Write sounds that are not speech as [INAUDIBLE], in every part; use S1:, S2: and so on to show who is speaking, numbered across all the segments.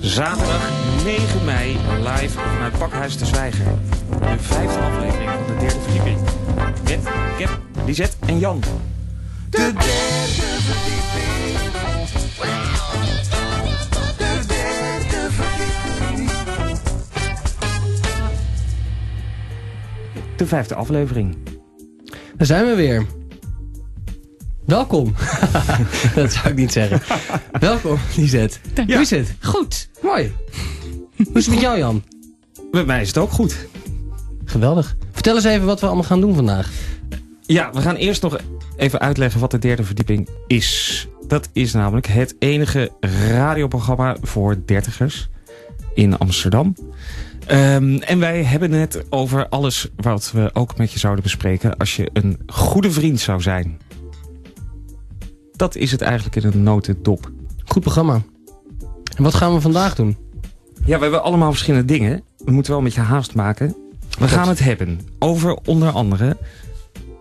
S1: Zaterdag 9 mei live vanuit Pakhuis de Zwijger. De vijfde aflevering van de derde verdieping. Met Cap, Lisette en Jan. De derde verdieping. De derde verdieping. De vijfde aflevering.
S2: Daar zijn we weer. Welkom. [LAUGHS] dat zou ik niet zeggen. Welkom, Lisette.
S3: Dank
S2: Hoe is het?
S3: Goed.
S2: Mooi. Hoe is het met jou, Jan?
S1: Met mij is het ook goed.
S2: Geweldig. Vertel eens even wat we allemaal gaan doen vandaag.
S1: Ja, we gaan eerst nog even uitleggen wat de derde verdieping is. Dat is namelijk het enige radioprogramma voor dertigers in Amsterdam. Ehm, en wij hebben het over alles wat we ook met je zouden bespreken als je een goede vriend zou zijn. Dat is het eigenlijk in een notendop.
S2: Goed programma. En wat gaan we vandaag doen?
S1: Ja, we hebben allemaal verschillende dingen. We moeten wel een beetje haast maken. We gaan het hebben over onder andere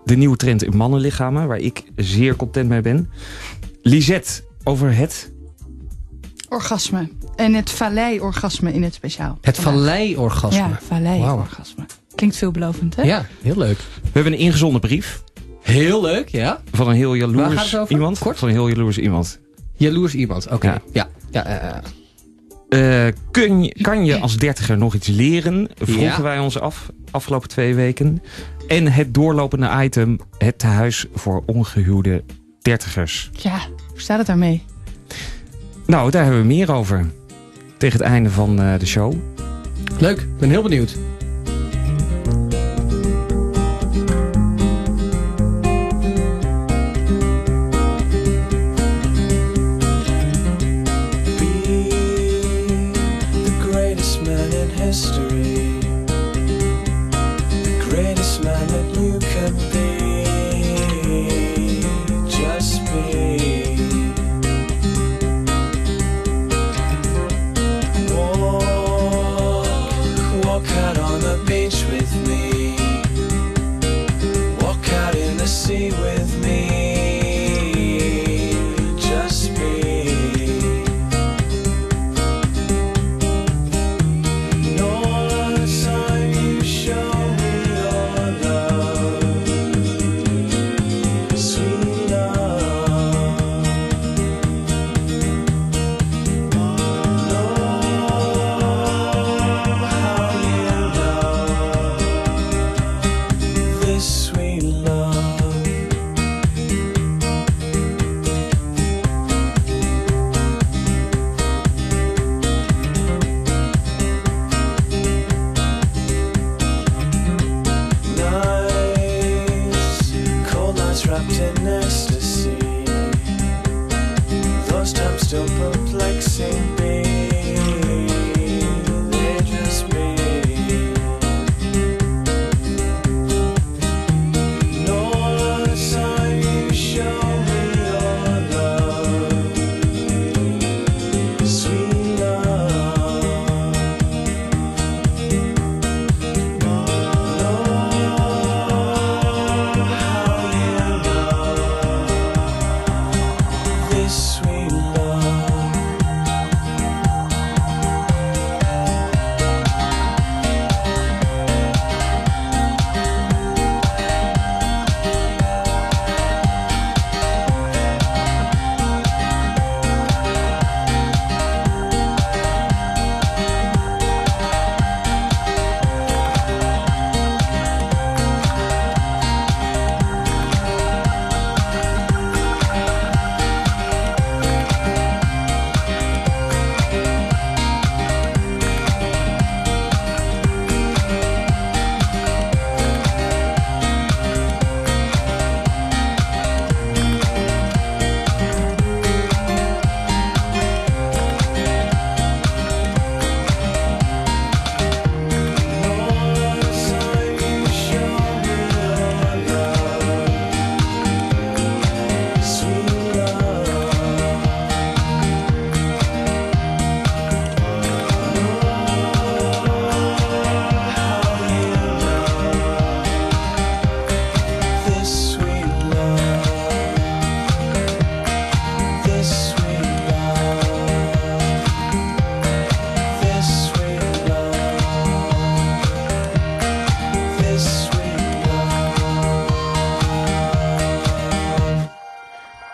S1: de nieuwe trend in mannenlichamen, waar ik zeer content mee ben. Lisette over het.
S3: Orgasme. En het vallei-orgasme in het speciaal.
S2: Het
S3: Vandaag.
S2: vallei-orgasme.
S3: Ja, vallei-orgasme. Klinkt veelbelovend, hè?
S2: Ja, heel leuk.
S1: We hebben een ingezonden brief
S2: Heel leuk, ja.
S1: van een heel
S2: Waar gaat
S1: jaloers
S2: het over?
S1: iemand.
S2: Kort?
S1: Van een heel jaloers iemand.
S2: Jaloers iemand, oké.
S1: Ja.
S2: Ja. Ja. eh, eh.
S1: Eh, kun je, kan je als dertiger nog iets leren? Vroegen
S2: Ja.
S1: wij ons af afgelopen twee weken. En het doorlopende item: het tehuis voor ongehuwde dertigers.
S3: Ja, hoe staat het daarmee?
S1: Nou, daar hebben we meer over. Tegen het einde van eh, de show.
S2: Leuk, ik ben heel benieuwd.
S4: be the greatest man in history. The greatest man that you can be. Just be. Walk, walk out on the beach with me. Walk out in the sea with me. Just be. North,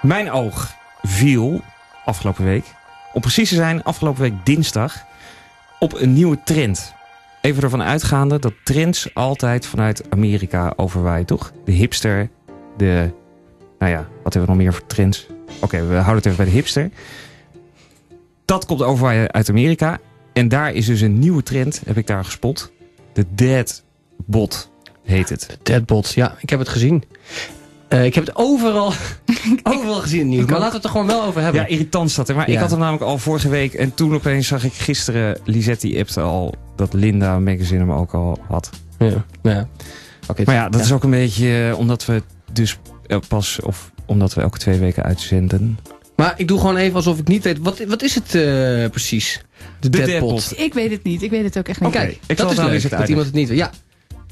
S1: Mijn oog viel afgelopen week, om precies te zijn afgelopen week dinsdag, op een nieuwe trend. Even ervan uitgaande dat trends altijd vanuit Amerika overwaaien, toch? De hipster, de... Nou ja, wat hebben we nog meer voor trends? Oké, we houden het even bij de hipster. Dat komt overwaaien uit Amerika. En daar is dus een nieuwe trend, heb ik daar gespot. De dead bot heet het.
S2: Deadbots, ja, ik heb het gezien. Eh, ik heb het
S3: [LAUGHS]
S2: overal, overal gezien in het nieuws.
S1: ik
S2: Maar
S1: ook.
S2: laten we het er gewoon wel over hebben.
S1: Ja, irritant staat er. Maar ik
S2: Ja.
S1: had hem namelijk al vorige week. En toen opeens zag ik gisteren, Lisette die appte al dat Linda Magazine hem ook al had.
S2: Ja, ja. Oké,
S1: Maar ja, dat
S2: ja.
S1: is ook een beetje eh, omdat we dus eh, pas, of omdat we elke twee weken uitzenden.
S2: Maar ik doe gewoon even alsof ik niet weet. Wat, wat is het eh, precies? De,
S1: Deadbot.
S3: Ik weet het niet. Ik weet het ook echt niet.
S2: Oké,
S1: Oké,
S2: dat
S1: ik zal
S2: is
S1: daar eens
S2: leuk
S1: het
S2: dat iemand het niet weet. Ja,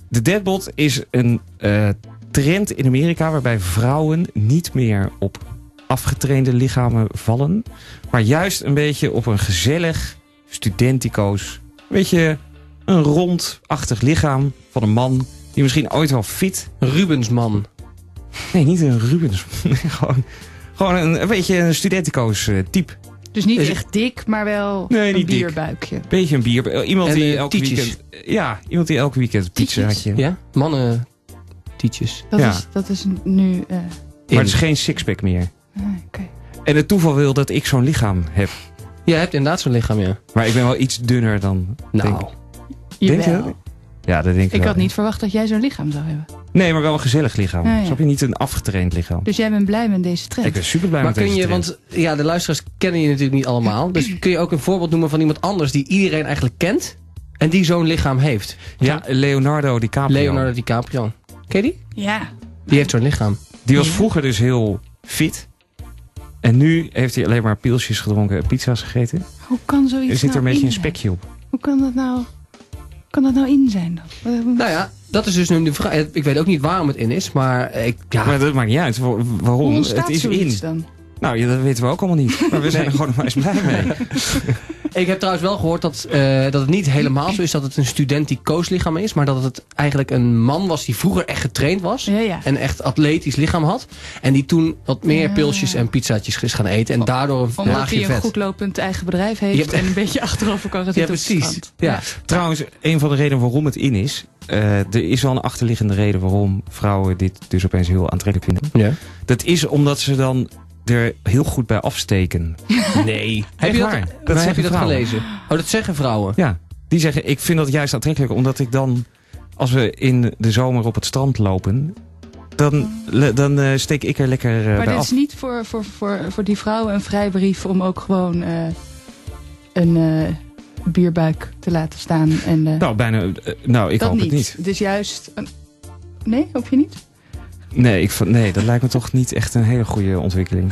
S1: De deadbot is een eh, trend in Amerika waarbij vrouwen niet meer op afgetrainde lichamen vallen. Maar juist een beetje op een gezellig, studentico's, een beetje een rondachtig lichaam van een man. Die misschien ooit wel fit.
S2: Rubensman.
S1: Nee, niet een Rubens. [LAUGHS] Nee, gewoon gewoon een, een beetje een studentico's eh, type.
S3: Dus niet
S2: Is het-
S3: echt dik, maar wel
S1: Nee,
S3: een
S1: niet dik.
S3: bierbuikje.
S1: Beetje een bier. Iemand
S2: En,
S1: die
S2: eh,
S1: elke
S2: tietjes.
S1: weekend. Ja, iemand die elke weekend pizza
S3: Tietjes?
S1: had. je.
S2: Ja? Mannen. Tietjes.
S3: Dat,
S1: Ja.
S3: is, dat is nu... eh,
S1: Maar het is geen sixpack meer.
S3: ah, oké.
S1: En het toeval wil dat ik zo'n lichaam heb.
S2: Jij hebt inderdaad zo'n lichaam, ja.
S1: Maar ik ben wel iets dunner dan.
S2: Nou,
S1: Denk- Denk je
S3: Jawel.
S1: dat? Ja, dat denk ik
S3: Ik
S1: wel.
S3: had niet verwacht dat jij zo'n lichaam zou hebben.
S1: Nee, maar wel een gezellig lichaam.
S3: Ja, ja.
S1: Snap je? Niet een afgetraind lichaam.
S3: Dus jij bent blij met deze trend.
S1: Ik ben super blij
S2: maar
S1: met
S2: kun
S1: deze
S2: je,
S1: trend.
S2: want ja, de luisteraars kennen je natuurlijk niet allemaal. Dus kun je ook een voorbeeld noemen van iemand anders die iedereen eigenlijk kent en die zo'n lichaam heeft?
S1: Ja, Leonardo DiCaprio.
S2: Leonardo DiCaprio. Ken je die?
S3: Ja.
S2: Die heeft zo'n lichaam.
S1: Die was
S3: Ja.
S1: vroeger dus heel fit. En nu heeft hij alleen maar pilsjes gedronken en pizza's gegeten.
S3: Hoe kan zoiets
S1: Er zit er
S3: nou
S1: een beetje
S3: in
S1: een
S3: zijn?
S1: spekje op.
S3: Hoe kan dat nou, hoe kan dat nou in zijn dan? Wat-
S2: Nou ja, dat is dus nu de vraag. Ik weet ook niet waarom het in is, maar ik, ja,
S1: Maar dat maakt niet uit. wa-
S3: Hoe
S1: Waarom? Het
S3: ontstaat
S1: is in.
S3: zoiets dan?
S1: Nou, ja, dat weten we ook allemaal niet. Maar we zijn er gewoon maar eens blij mee.
S2: [LAUGHS] Ik heb trouwens wel gehoord dat, eh, dat het niet helemaal zo is dat het een student die kooslichaam is. Maar dat het eigenlijk een man was die vroeger echt getraind was.
S3: Ja, ja.
S2: En echt atletisch lichaam had. En die toen wat meer
S3: Ja.
S2: pilsjes en pizzaatjes is gaan eten. En daardoor een
S3: Omdat
S2: laagje
S3: hij een
S2: vet.
S3: goedlopend eigen bedrijf
S2: Je
S3: heeft
S2: hebt-
S3: en een beetje achterover kan gaan zitten op het strand.
S2: Ja.
S1: Trouwens, een van de redenen waarom het in is... eh, er is wel een achterliggende reden waarom vrouwen dit dus opeens heel aantrekkelijk vinden.
S2: ja.
S1: Dat is omdat ze dan er heel goed bij afsteken.
S2: Nee. Heb je
S1: waar.
S2: dat, dat,
S1: Dat
S2: heb je
S1: zeggen
S2: dat
S1: vrouwen.
S2: gelezen? Oh, dat zeggen vrouwen.
S1: Ja, die zeggen ik vind dat juist aantrekkelijk. Omdat ik dan, als we in de zomer op het strand lopen... dan, le- dan eh, steek ik er lekker eh,
S3: Maar
S1: bij
S3: dit
S1: af.
S3: is niet voor, voor, voor, voor die vrouwen een vrijbrief om ook gewoon eh, een eh, bierbuik te laten staan. En, eh,
S1: Nou, bijna, eh, nou, ik
S3: dat
S1: hoop
S3: niet.
S1: het niet.
S3: Dus juist... een- Nee, hoop je niet?
S1: Nee, ik, vond- nee, dat lijkt me toch niet echt een hele goede
S3: [LAUGHS]
S1: ontwikkeling.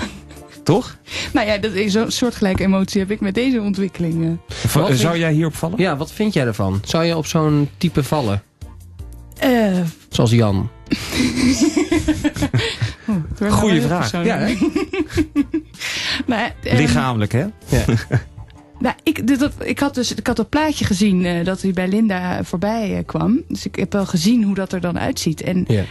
S1: Toch?
S3: Nou ja, dat is zo'n soortgelijke emotie heb ik met deze ontwikkelingen.
S1: V-
S2: Wat vind-
S1: zou jij hierop vallen?
S2: Ja, wat vind jij ervan? Zou je op zo'n type vallen?
S3: Eh,
S2: Zoals Jan.
S3: oh, het wordt nou
S1: Goeie
S3: wel heel
S1: vraag.
S3: persoonlijk.
S2: hè?
S3: [LAUGHS] Maar, ehm,
S1: Lichamelijk, hè? [LAUGHS]
S3: Nou, ik, dit- dat, ik had dus ik had dat plaatje gezien eh, dat hij bij Linda voorbij eh, kwam. Dus ik heb wel gezien hoe dat er dan uitziet. En
S2: Ja.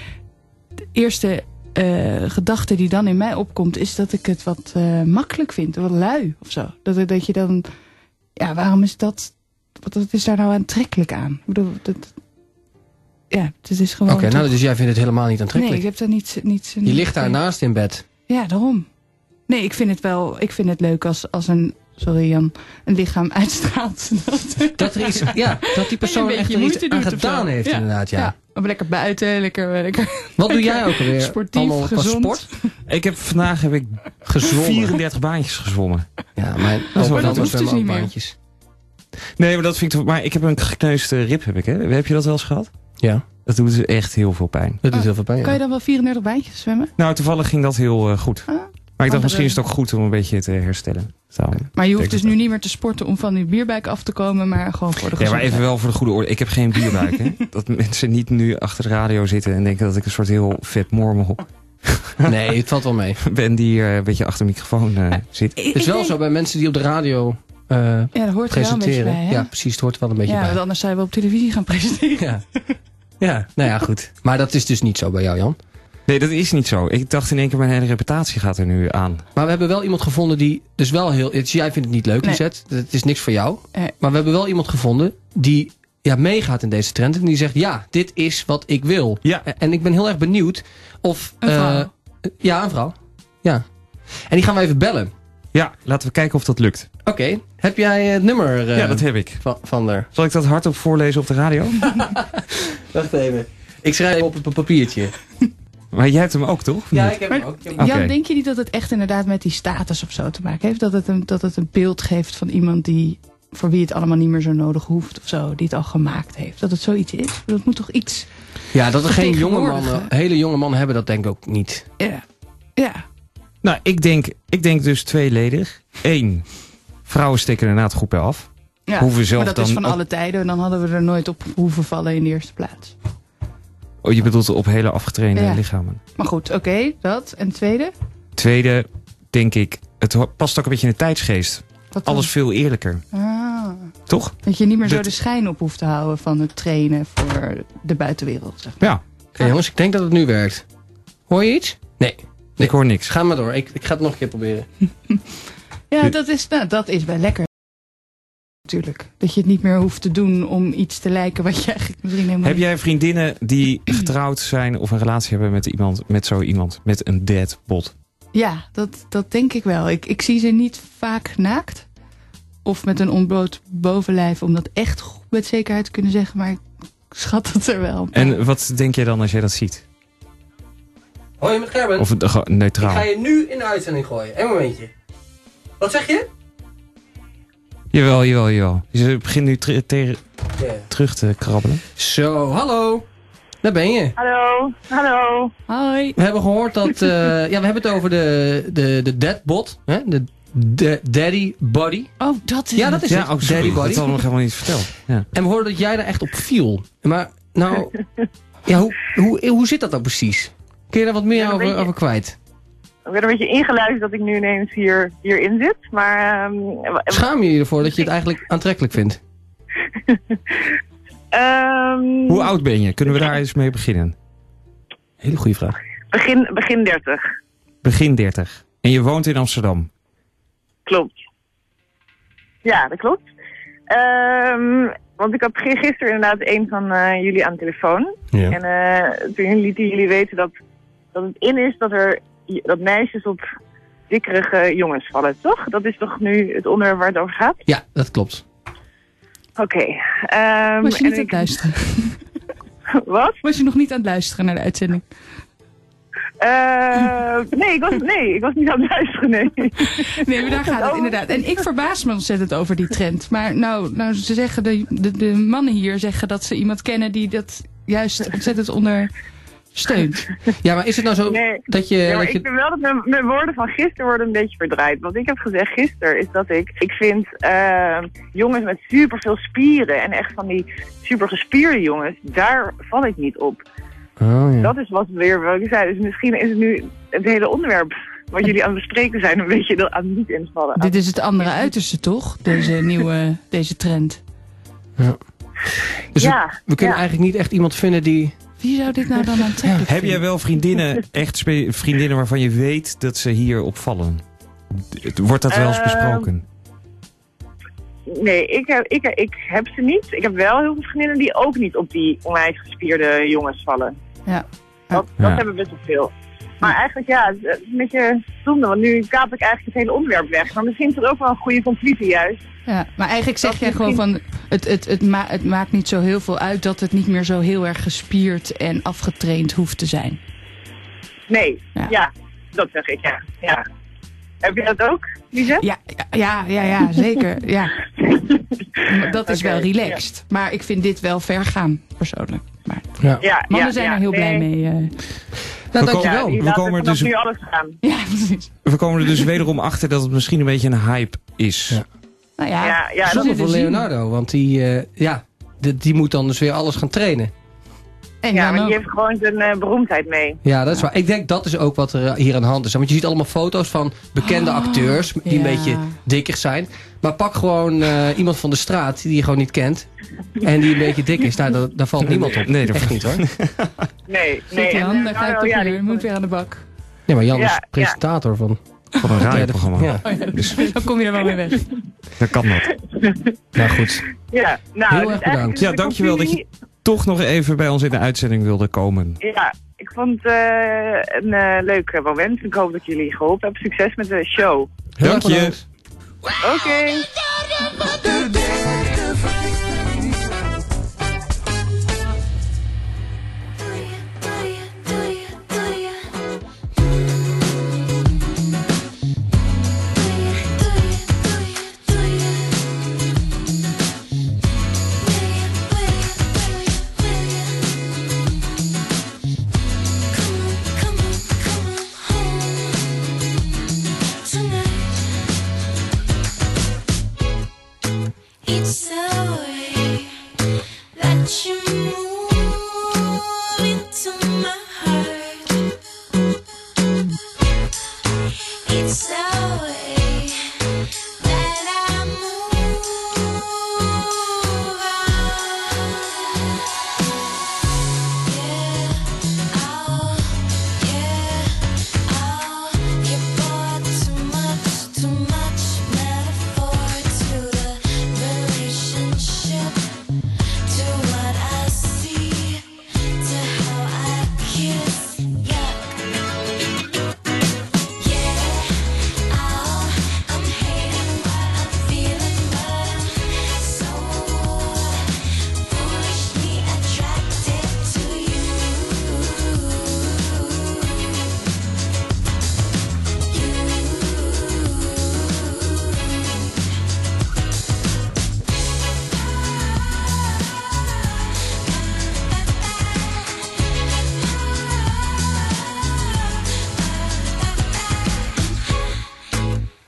S3: de eerste eh, gedachte die dan in mij opkomt is dat ik het wat eh, makkelijk vind. Wat lui of zo. Dat, dat je dan... Ja, waarom is dat... Wat, wat is daar nou aantrekkelijk aan? Ik bedoel, dat, ja, het is gewoon...
S2: Oké, nou
S3: Oh, toch-
S2: dus jij vindt het helemaal niet
S3: nee,
S2: aantrekkelijk.
S3: ik heb daar niet... niet
S2: je ligt daarnaast in bed.
S3: ja, daarom. Nee, ik vind het wel. Ik vind het leuk als, als een. Sorry Jan, een lichaam uitstraalt. [LAUGHS] Dat,
S2: Dat er iets, ja, dat die persoon
S3: een beetje
S2: echt er iets
S3: moeite
S2: aan
S3: doet of
S2: gedaan
S3: zo.
S2: heeft
S3: Ja.
S2: inderdaad, ja.
S3: maar lekker buiten, lekker. eh, lekker.
S2: Wat doe jij ook alweer?
S3: eh, Sportief,
S2: Allemaal qua
S3: gezond.
S2: sport?
S1: Ik heb vandaag heb ik
S2: Gezwommen.
S1: 34 baantjes gezwommen.
S2: Ja, mijn
S1: wel-
S2: opa
S1: dat
S2: had
S1: hoeft
S3: dus
S2: zwemmen
S3: niet
S2: ook
S3: meer.
S2: baantjes.
S1: Nee, maar dat vind ik toch... Maar ik heb een gekneusde rib, heb ik, hè? Heb je dat wel eens gehad?
S2: Ja,
S1: Dat doet dus echt heel veel pijn.
S2: dat doet
S3: Ah,
S2: heel veel pijn.
S3: Kan
S2: ja.
S3: je dan wel 34 baantjes zwemmen?
S1: Nou, toevallig ging dat heel eh, goed.
S3: Ah,
S1: maar ik
S3: andere-
S1: dacht, misschien is het ook goed om een beetje te herstellen. Daarom.
S3: Maar je
S1: Denk
S3: hoeft dus
S1: het
S3: nu niet meer te sporten om van die bierbuik af te komen, maar gewoon voor
S1: Ja,
S3: de
S1: maar
S3: gezondheid.
S1: even wel voor de goede orde. Ik heb geen bierbuik,
S2: [LAUGHS]
S1: hè? Dat mensen niet nu achter de radio zitten en denken dat ik een soort heel vet mormel
S2: [LAUGHS] Nee, het valt wel mee.
S1: [LAUGHS] ben die hier eh, een beetje achter de microfoon eh, zit.
S3: Ik-
S2: Het is
S3: ik
S2: wel
S3: denk-
S2: zo bij mensen die op de radio eh,
S3: Ja, dat hoort er wel een beetje
S2: presenteren.
S3: bij, hè?
S2: ja, precies, het hoort er wel een beetje
S3: Ja,
S2: bij.
S3: want anders zou je wel op televisie gaan presenteren.
S2: Ja. ja, nou ja, goed. Maar dat is dus niet zo bij jou, Jan.
S1: Nee, dat is niet zo. Ik dacht in één keer, mijn hele reputatie gaat er nu aan.
S2: Maar we hebben wel iemand gevonden die dus wel heel... het- Jij vindt het niet leuk,
S3: Nee.
S2: Lisette. Het is niks voor jou.
S3: Nee.
S2: Maar we hebben wel iemand gevonden die ja, meegaat in deze trend. En die zegt, ja, dit is wat ik wil.
S1: Ja.
S2: En- En ik ben heel erg benieuwd of...
S3: Een
S2: eh,
S3: vrouw.
S2: ja, een vrouw. Ja. En die gaan we even bellen.
S1: Ja, laten we kijken of dat lukt.
S2: Oké, heb jij het nummer eh,
S1: ja, dat heb ik.
S2: van, van er?
S1: Zal ik dat hardop voorlezen op de radio?
S2: [LAUGHS] Wacht even. Ik schrijf hem op het papiertje.
S1: [LAUGHS] maar jij hebt hem ook, toch?
S2: Ja, ik heb hem
S3: Maar-
S2: ook. Ik heb hem
S1: Oké.
S3: Jan, denk je niet dat het echt inderdaad met die status of zo te maken heeft? Dat het een, dat het een beeld geeft van iemand die, voor wie het allemaal niet meer zo nodig hoeft of zo, die het al gemaakt heeft? Dat het zoiets is? Dat moet toch iets.
S2: ook. Ja, dat er geen jonge mannen,
S3: Vertegenwoordigen.
S2: hele jonge mannen hebben, dat denk ik ook niet.
S3: Ja. Ja.
S1: Nou, ik denk, ik denk dus tweeledig. Eén, vrouwen steken inderdaad goed bij af.
S3: ja.
S1: Hoeven zelf
S3: maar dat
S1: dan
S3: is van
S1: ook-
S3: alle tijden en dan hadden we er nooit op hoeven vallen in de eerste plaats.
S1: Oh, je bedoelt op hele afgetrainde
S3: Ja.
S1: lichamen.
S3: Maar goed, oké, dat. En tweede?
S1: Tweede, denk ik, het ho- past ook een beetje in de tijdsgeest.
S3: Wat dan?
S1: Alles veel eerlijker,
S3: Ah,
S1: toch?
S3: dat je niet meer zo
S1: Dit-
S3: de schijn op hoeft te houden van het trainen voor de buitenwereld. Zeg.
S1: Ja,
S2: Oké jongens, ik denk dat het nu werkt. Hoor je iets? Nee. Nee.
S1: ik hoor niks.
S2: Ga maar door. Ik, ik ga het nog een keer proberen.
S3: maar. Ja,
S1: Dit-
S3: dat is, nou, dat is wel lekker. Natuurlijk. Dat je het niet meer hoeft te doen om iets te lijken wat je eigenlijk misschien helemaal
S1: Heb jij vriendinnen die getrouwd zijn of een relatie hebben met iemand, met zo iemand, met een deadbot?
S3: Ja, dat, dat denk ik wel. Ik, ik zie ze niet vaak naakt. Of met een ontbloot bovenlijf. Om dat echt goed met zekerheid te kunnen zeggen. Maar ik schat dat er wel.
S1: En wat denk jij dan als jij dat ziet?
S2: Hoor je met Gerben?
S1: Of eh, gewoon
S2: ik ga
S1: neutraal?
S2: je nu in de uitzending gooien. Een momentje. Wat zeg je?
S1: Jawel, jawel, jawel. Je begint nu ter- ter- terug te krabbelen.
S2: Zo, hallo. Daar ben je.
S5: Hallo, hallo.
S3: Hoi.
S2: We hebben gehoord dat... eh, ja, we hebben het over de, de, de deadbot. Hè? De, de daddy body.
S3: Oh, dat is
S2: Ja, dat is
S1: ja,
S2: het.
S1: ook sorry,
S2: Daddy
S1: dat
S2: body.
S1: hadden we nog helemaal niet verteld. Ja.
S2: En we hoorden dat jij daar echt op viel. Maar nou... ja, hoe, hoe, hoe zit dat dan precies? Kun je daar wat meer
S5: Ja, een
S2: over,
S5: beetje.
S2: over kwijt?
S5: Ik ben een beetje ingeluisterd dat ik nu ineens hier, hierin zit. Maar ehm, w-
S2: Schaam je je ervoor dat je het eigenlijk aantrekkelijk vindt?
S5: ehm,
S1: Hoe oud ben je? Kunnen we daar eens mee beginnen? Hele goede vraag.
S5: begin, begin 30,
S1: Begin 30. En je woont in Amsterdam.
S5: klopt. Ja, dat klopt. Ehm, want ik had gi- gisteren inderdaad een van eh, jullie aan de telefoon.
S2: Ja.
S5: En eh, toen lieten jullie weten dat, dat het in is dat, er, dat meisjes op dikkerige jongens vallen, toch? Dat is toch nu het onderwerp waar het over gaat?
S2: Ja, dat klopt.
S5: Oké. ehm,
S3: Was
S5: en
S3: je niet aan het
S5: ik-
S3: luisteren?
S5: [LAUGHS] Wat?
S3: Was je nog niet aan het luisteren naar de uitzending?
S5: Eh, nee, ik was, nee, ik was niet aan het luisteren. Nee. Oh.
S3: Nee, maar daar gaat het inderdaad. En ik verbaas me ontzettend over die trend. Maar nou, nou ze zeggen de, de, de mannen hier zeggen dat ze iemand kennen die dat juist ontzettend ondersteunt.
S2: Ja, maar is het nou zo
S5: Nee.
S2: dat je...
S5: Ja, maar
S2: dat je...
S5: ik vind wel dat mijn, mijn woorden van gisteren worden een beetje verdraaid. Wat ik heb gezegd gisteren is dat ik, ik vind eh, jongens met superveel spieren en echt van die supergespierde jongens, daar val ik niet op.
S2: Oh, ja.
S5: Dat is wat weer wat ik zei. Dus misschien is het nu het hele onderwerp wat jullie aan het bespreken zijn een beetje er aan niet invallen.
S3: Dit is het andere uiterste, toch? Deze nieuwe deze trend.
S2: Dus we-
S5: ja,
S2: we kunnen
S5: ja.
S2: eigenlijk niet echt iemand vinden die...
S3: Wie zou dit nou dan aantrekkelijk
S1: Heb jij
S3: vinden?
S1: wel vriendinnen, echt spe- vriendinnen waarvan je weet dat ze hierop vallen? D- Wordt dat wel eens
S5: Ehm,
S1: besproken?
S5: Nee, ik heb, ik, ik heb ze niet. Ik heb wel heel veel vriendinnen die ook niet op die onwijs gespierde jongens vallen.
S3: Ja.
S5: Dat,
S1: Ja.
S5: dat hebben we best wel veel. Maar eigenlijk ja, het is een beetje zonde, want nu kaap ik eigenlijk het hele onderwerp weg. Maar misschien is dat ook wel een goede conclusie juist.
S3: Ja, maar eigenlijk zeg
S5: Dat
S3: jij gewoon van, het, het, het, ma het maakt niet zo heel veel uit dat het niet meer zo heel erg gespierd en afgetraind hoeft te zijn.
S5: Nee,
S3: Ja.
S5: ja, dat zeg ik, ja. ja. Heb je dat ook, Lise?
S3: Ja, ja, ja, ja zeker. Ja. Maar [LAUGHS] Dat is
S5: Oké,
S3: wel relaxed. Maar ik vind dit wel ver gaan, persoonlijk. Maar
S5: Ja,
S3: mannen
S5: ja,
S3: zijn
S5: ja,
S3: er heel blij
S5: nee.
S3: mee. eh.
S2: Nou,
S1: We
S5: Ja,
S2: dankjewel.
S5: die
S1: We
S5: laten
S1: komen er
S5: vanaf
S1: dus-
S5: nu alles gaan.
S3: Ja, precies.
S1: We komen er dus wederom achter dat het misschien een beetje een hype is.
S2: Ja.
S3: Nou ja,
S5: Ja, ja,
S3: we
S5: dat
S2: Zonde
S3: zullen
S2: voor
S3: zien.
S2: Leonardo, want die, eh, ja, die, die moet dan dus weer alles gaan trainen.
S3: En
S5: Ja,
S3: Jan
S5: want je
S3: ook.
S5: heeft gewoon zijn eh, beroemdheid mee.
S2: Ja, dat is waar. Ik denk dat is ook wat er eh, hier aan de hand is. Want je ziet allemaal foto's van bekende acteurs die een
S3: ja.
S2: beetje dikker zijn. Maar pak gewoon eh, iemand van de straat die je gewoon niet kent. En die een beetje dik is. Nou, daar, daar valt niemand op.
S1: Nee, daar
S2: Echt
S1: valt-
S2: niet hoor.
S6: Nee, nee.
S3: Zit
S6: en,
S3: Jan,
S6: eh,
S3: daar
S6: nou,
S3: ga je toch
S6: ja,
S3: weer.
S6: die-
S3: moet weer aan de bak.
S2: Nee, maar Jan
S6: Ja,
S2: is
S6: ja.
S2: presentator van...
S1: Van een radioprogramma.
S2: Ja.
S1: Dus
S3: [LAUGHS] Dan kom je er wel mee weg.
S1: dat kan dat.
S2: Nou goed,
S6: Ja,
S2: Heel
S6: nou, dus
S2: erg
S6: eigenlijk
S2: bedankt.
S6: is
S1: Ja,
S6: de
S1: dankjewel dat je-
S6: conclusie-
S1: Toch nog even bij ons in de uitzending wilde komen.
S6: Ja, ik vond het eh, een eh, leuk eh, moment. Ik hoop dat jullie geholpen hebben. Succes met de show.
S2: heel erg
S1: Dank je.
S2: bedankt.
S6: Oké.
S7: Do you, do you, do you, do you? Do you, do you, do you, do you? Will you, will you, will you, will you? Come on, come on, come on home tonight. It's the way that you move into my heart. It's the way that I move. Yeah, oh, yeah, oh, you bought too much, too much metaphor to the relationship. To what I see, to how I kiss, yeah. Yeah, oh, I'm hating what I'm feeling, but I'm so foolishly attracted to you.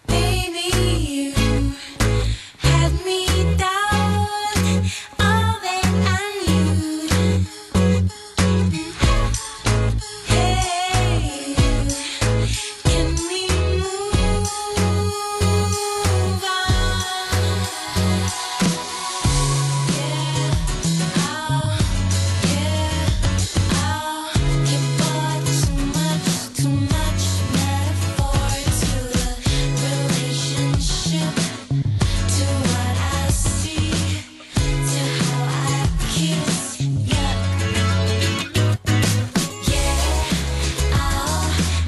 S7: Baby, you had me down all that I knew. Hey, can we move on? Yeah, yeah. Oh, you bought too much, too much metaphor to the relationship, to what I see, to how I kiss, yeah. Yeah, oh,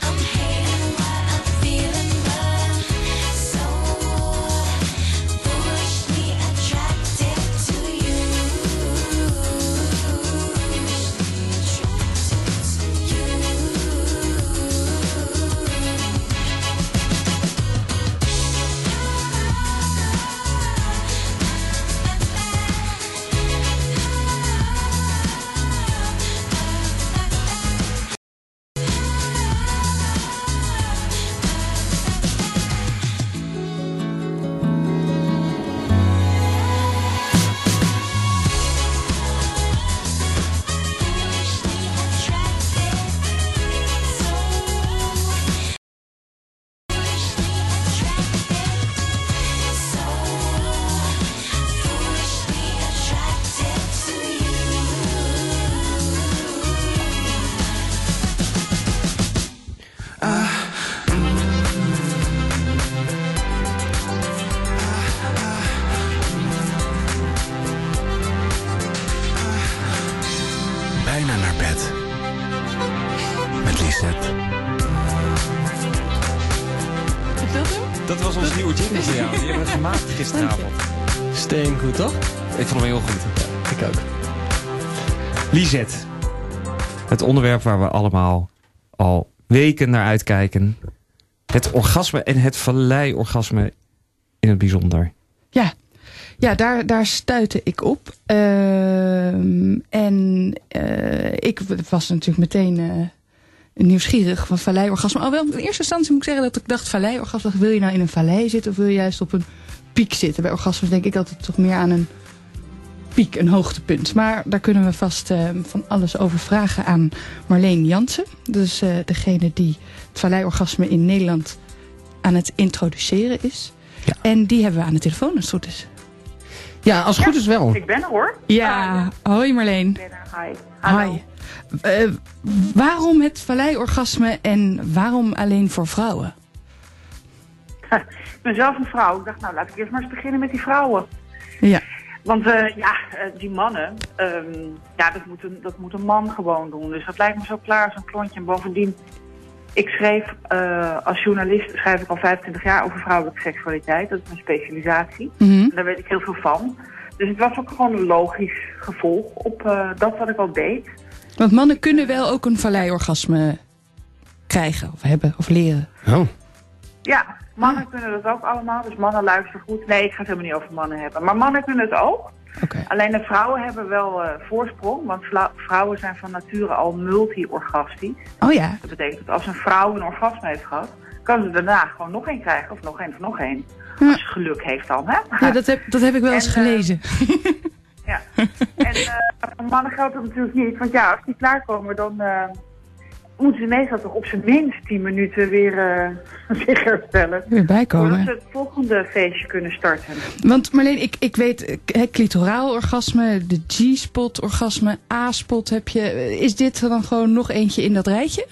S7: I'm hating what I'm feeling, but so foolishly attracted to you.
S8: Bijna naar bed. Met Lisette.
S3: Is dat hem?
S1: Dat was ons nieuwe jingle voor jou. Die hebben we gemaakt gisteravond.
S2: Steengoed, toch?
S1: Ik vond hem heel goed.
S2: Ik ook.
S1: Lisette. Het onderwerp waar we allemaal al weken naar uitkijken. Het orgasme en het vallei-orgasme in het bijzonder.
S3: Ja, ja daar, daar stuitte ik op. Ehm, en eh, ik was natuurlijk meteen eh, nieuwsgierig van valleiorgasme. Alhoewel, in eerste instantie moet ik zeggen dat ik dacht valleiorgasme. dacht, Wil je nou in een vallei zitten of wil je juist op een piek zitten? Bij orgasmes denk ik altijd toch meer aan een piek, een hoogtepunt. Maar daar kunnen we vast eh, van alles over vragen aan Marleen Jansen. Dus eh, degene die het valleiorgasme in Nederland aan het introduceren is. En die hebben we aan de telefoon als het goed is.
S2: Ja, als het goed is wel.
S6: Ik ben er hoor. Ah,
S3: Ja, hoi Marleen.
S6: Ik ben er. Hi. Hallo.
S3: Hi. Eh, waarom het valleiorgasme en waarom alleen voor vrouwen?
S6: Ik ben zelf een vrouw. Ik dacht, nou laat ik eerst maar eens beginnen met die vrouwen.
S3: Ja,
S6: Want eh, ja, eh, die mannen, ehm, ja, dat, moet een, dat moet een man gewoon doen. Dus dat lijkt me zo klaar, zo'n klontje. En bovendien, ik schreef eh, als journalist, schrijf ik al 25 jaar over vrouwelijke seksualiteit. Dat is mijn specialisatie.
S3: Mhm.
S6: En daar weet ik heel veel van. Dus het was ook gewoon een logisch gevolg op eh, dat wat ik al deed.
S3: want mannen kunnen wel ook een valleiorgasme krijgen of hebben of leren.
S2: Oh.
S6: Ja, mannen kunnen dat ook allemaal. Dus mannen luisteren goed. Nee, ik ga het helemaal niet over mannen hebben. Maar mannen kunnen het ook.
S3: Oké.
S6: Alleen de vrouwen hebben wel eh, voorsprong. Want vla- vrouwen zijn van nature al multi-orgastisch.
S3: Oh ja,
S6: Dat betekent dat als een vrouw een orgasme heeft gehad, kan ze daarna gewoon nog één krijgen. Of nog één of nog één.
S3: Ja.
S6: Als ze geluk heeft dan, hè?
S3: ja dat, heb, dat heb ik wel eens
S6: En, eh,
S3: gelezen. [LAUGHS]
S6: Ja. En eh, voor mannen geldt dat natuurlijk niet. Want ja, als die klaarkomen, dan eh, moeten ze meestal toch op zijn minst 10 minuten weer eh, [LAUGHS] zich herstellen.
S3: Weer
S6: Voordat
S3: bijkomen.
S6: ze het volgende feestje kunnen starten.
S3: Want Marleen, ik, ik weet, eh, k- hè, clitoraal orgasme, de G-spot orgasme, A-spot heb je. Eh, Is dit er dan gewoon nog eentje in dat rijtje?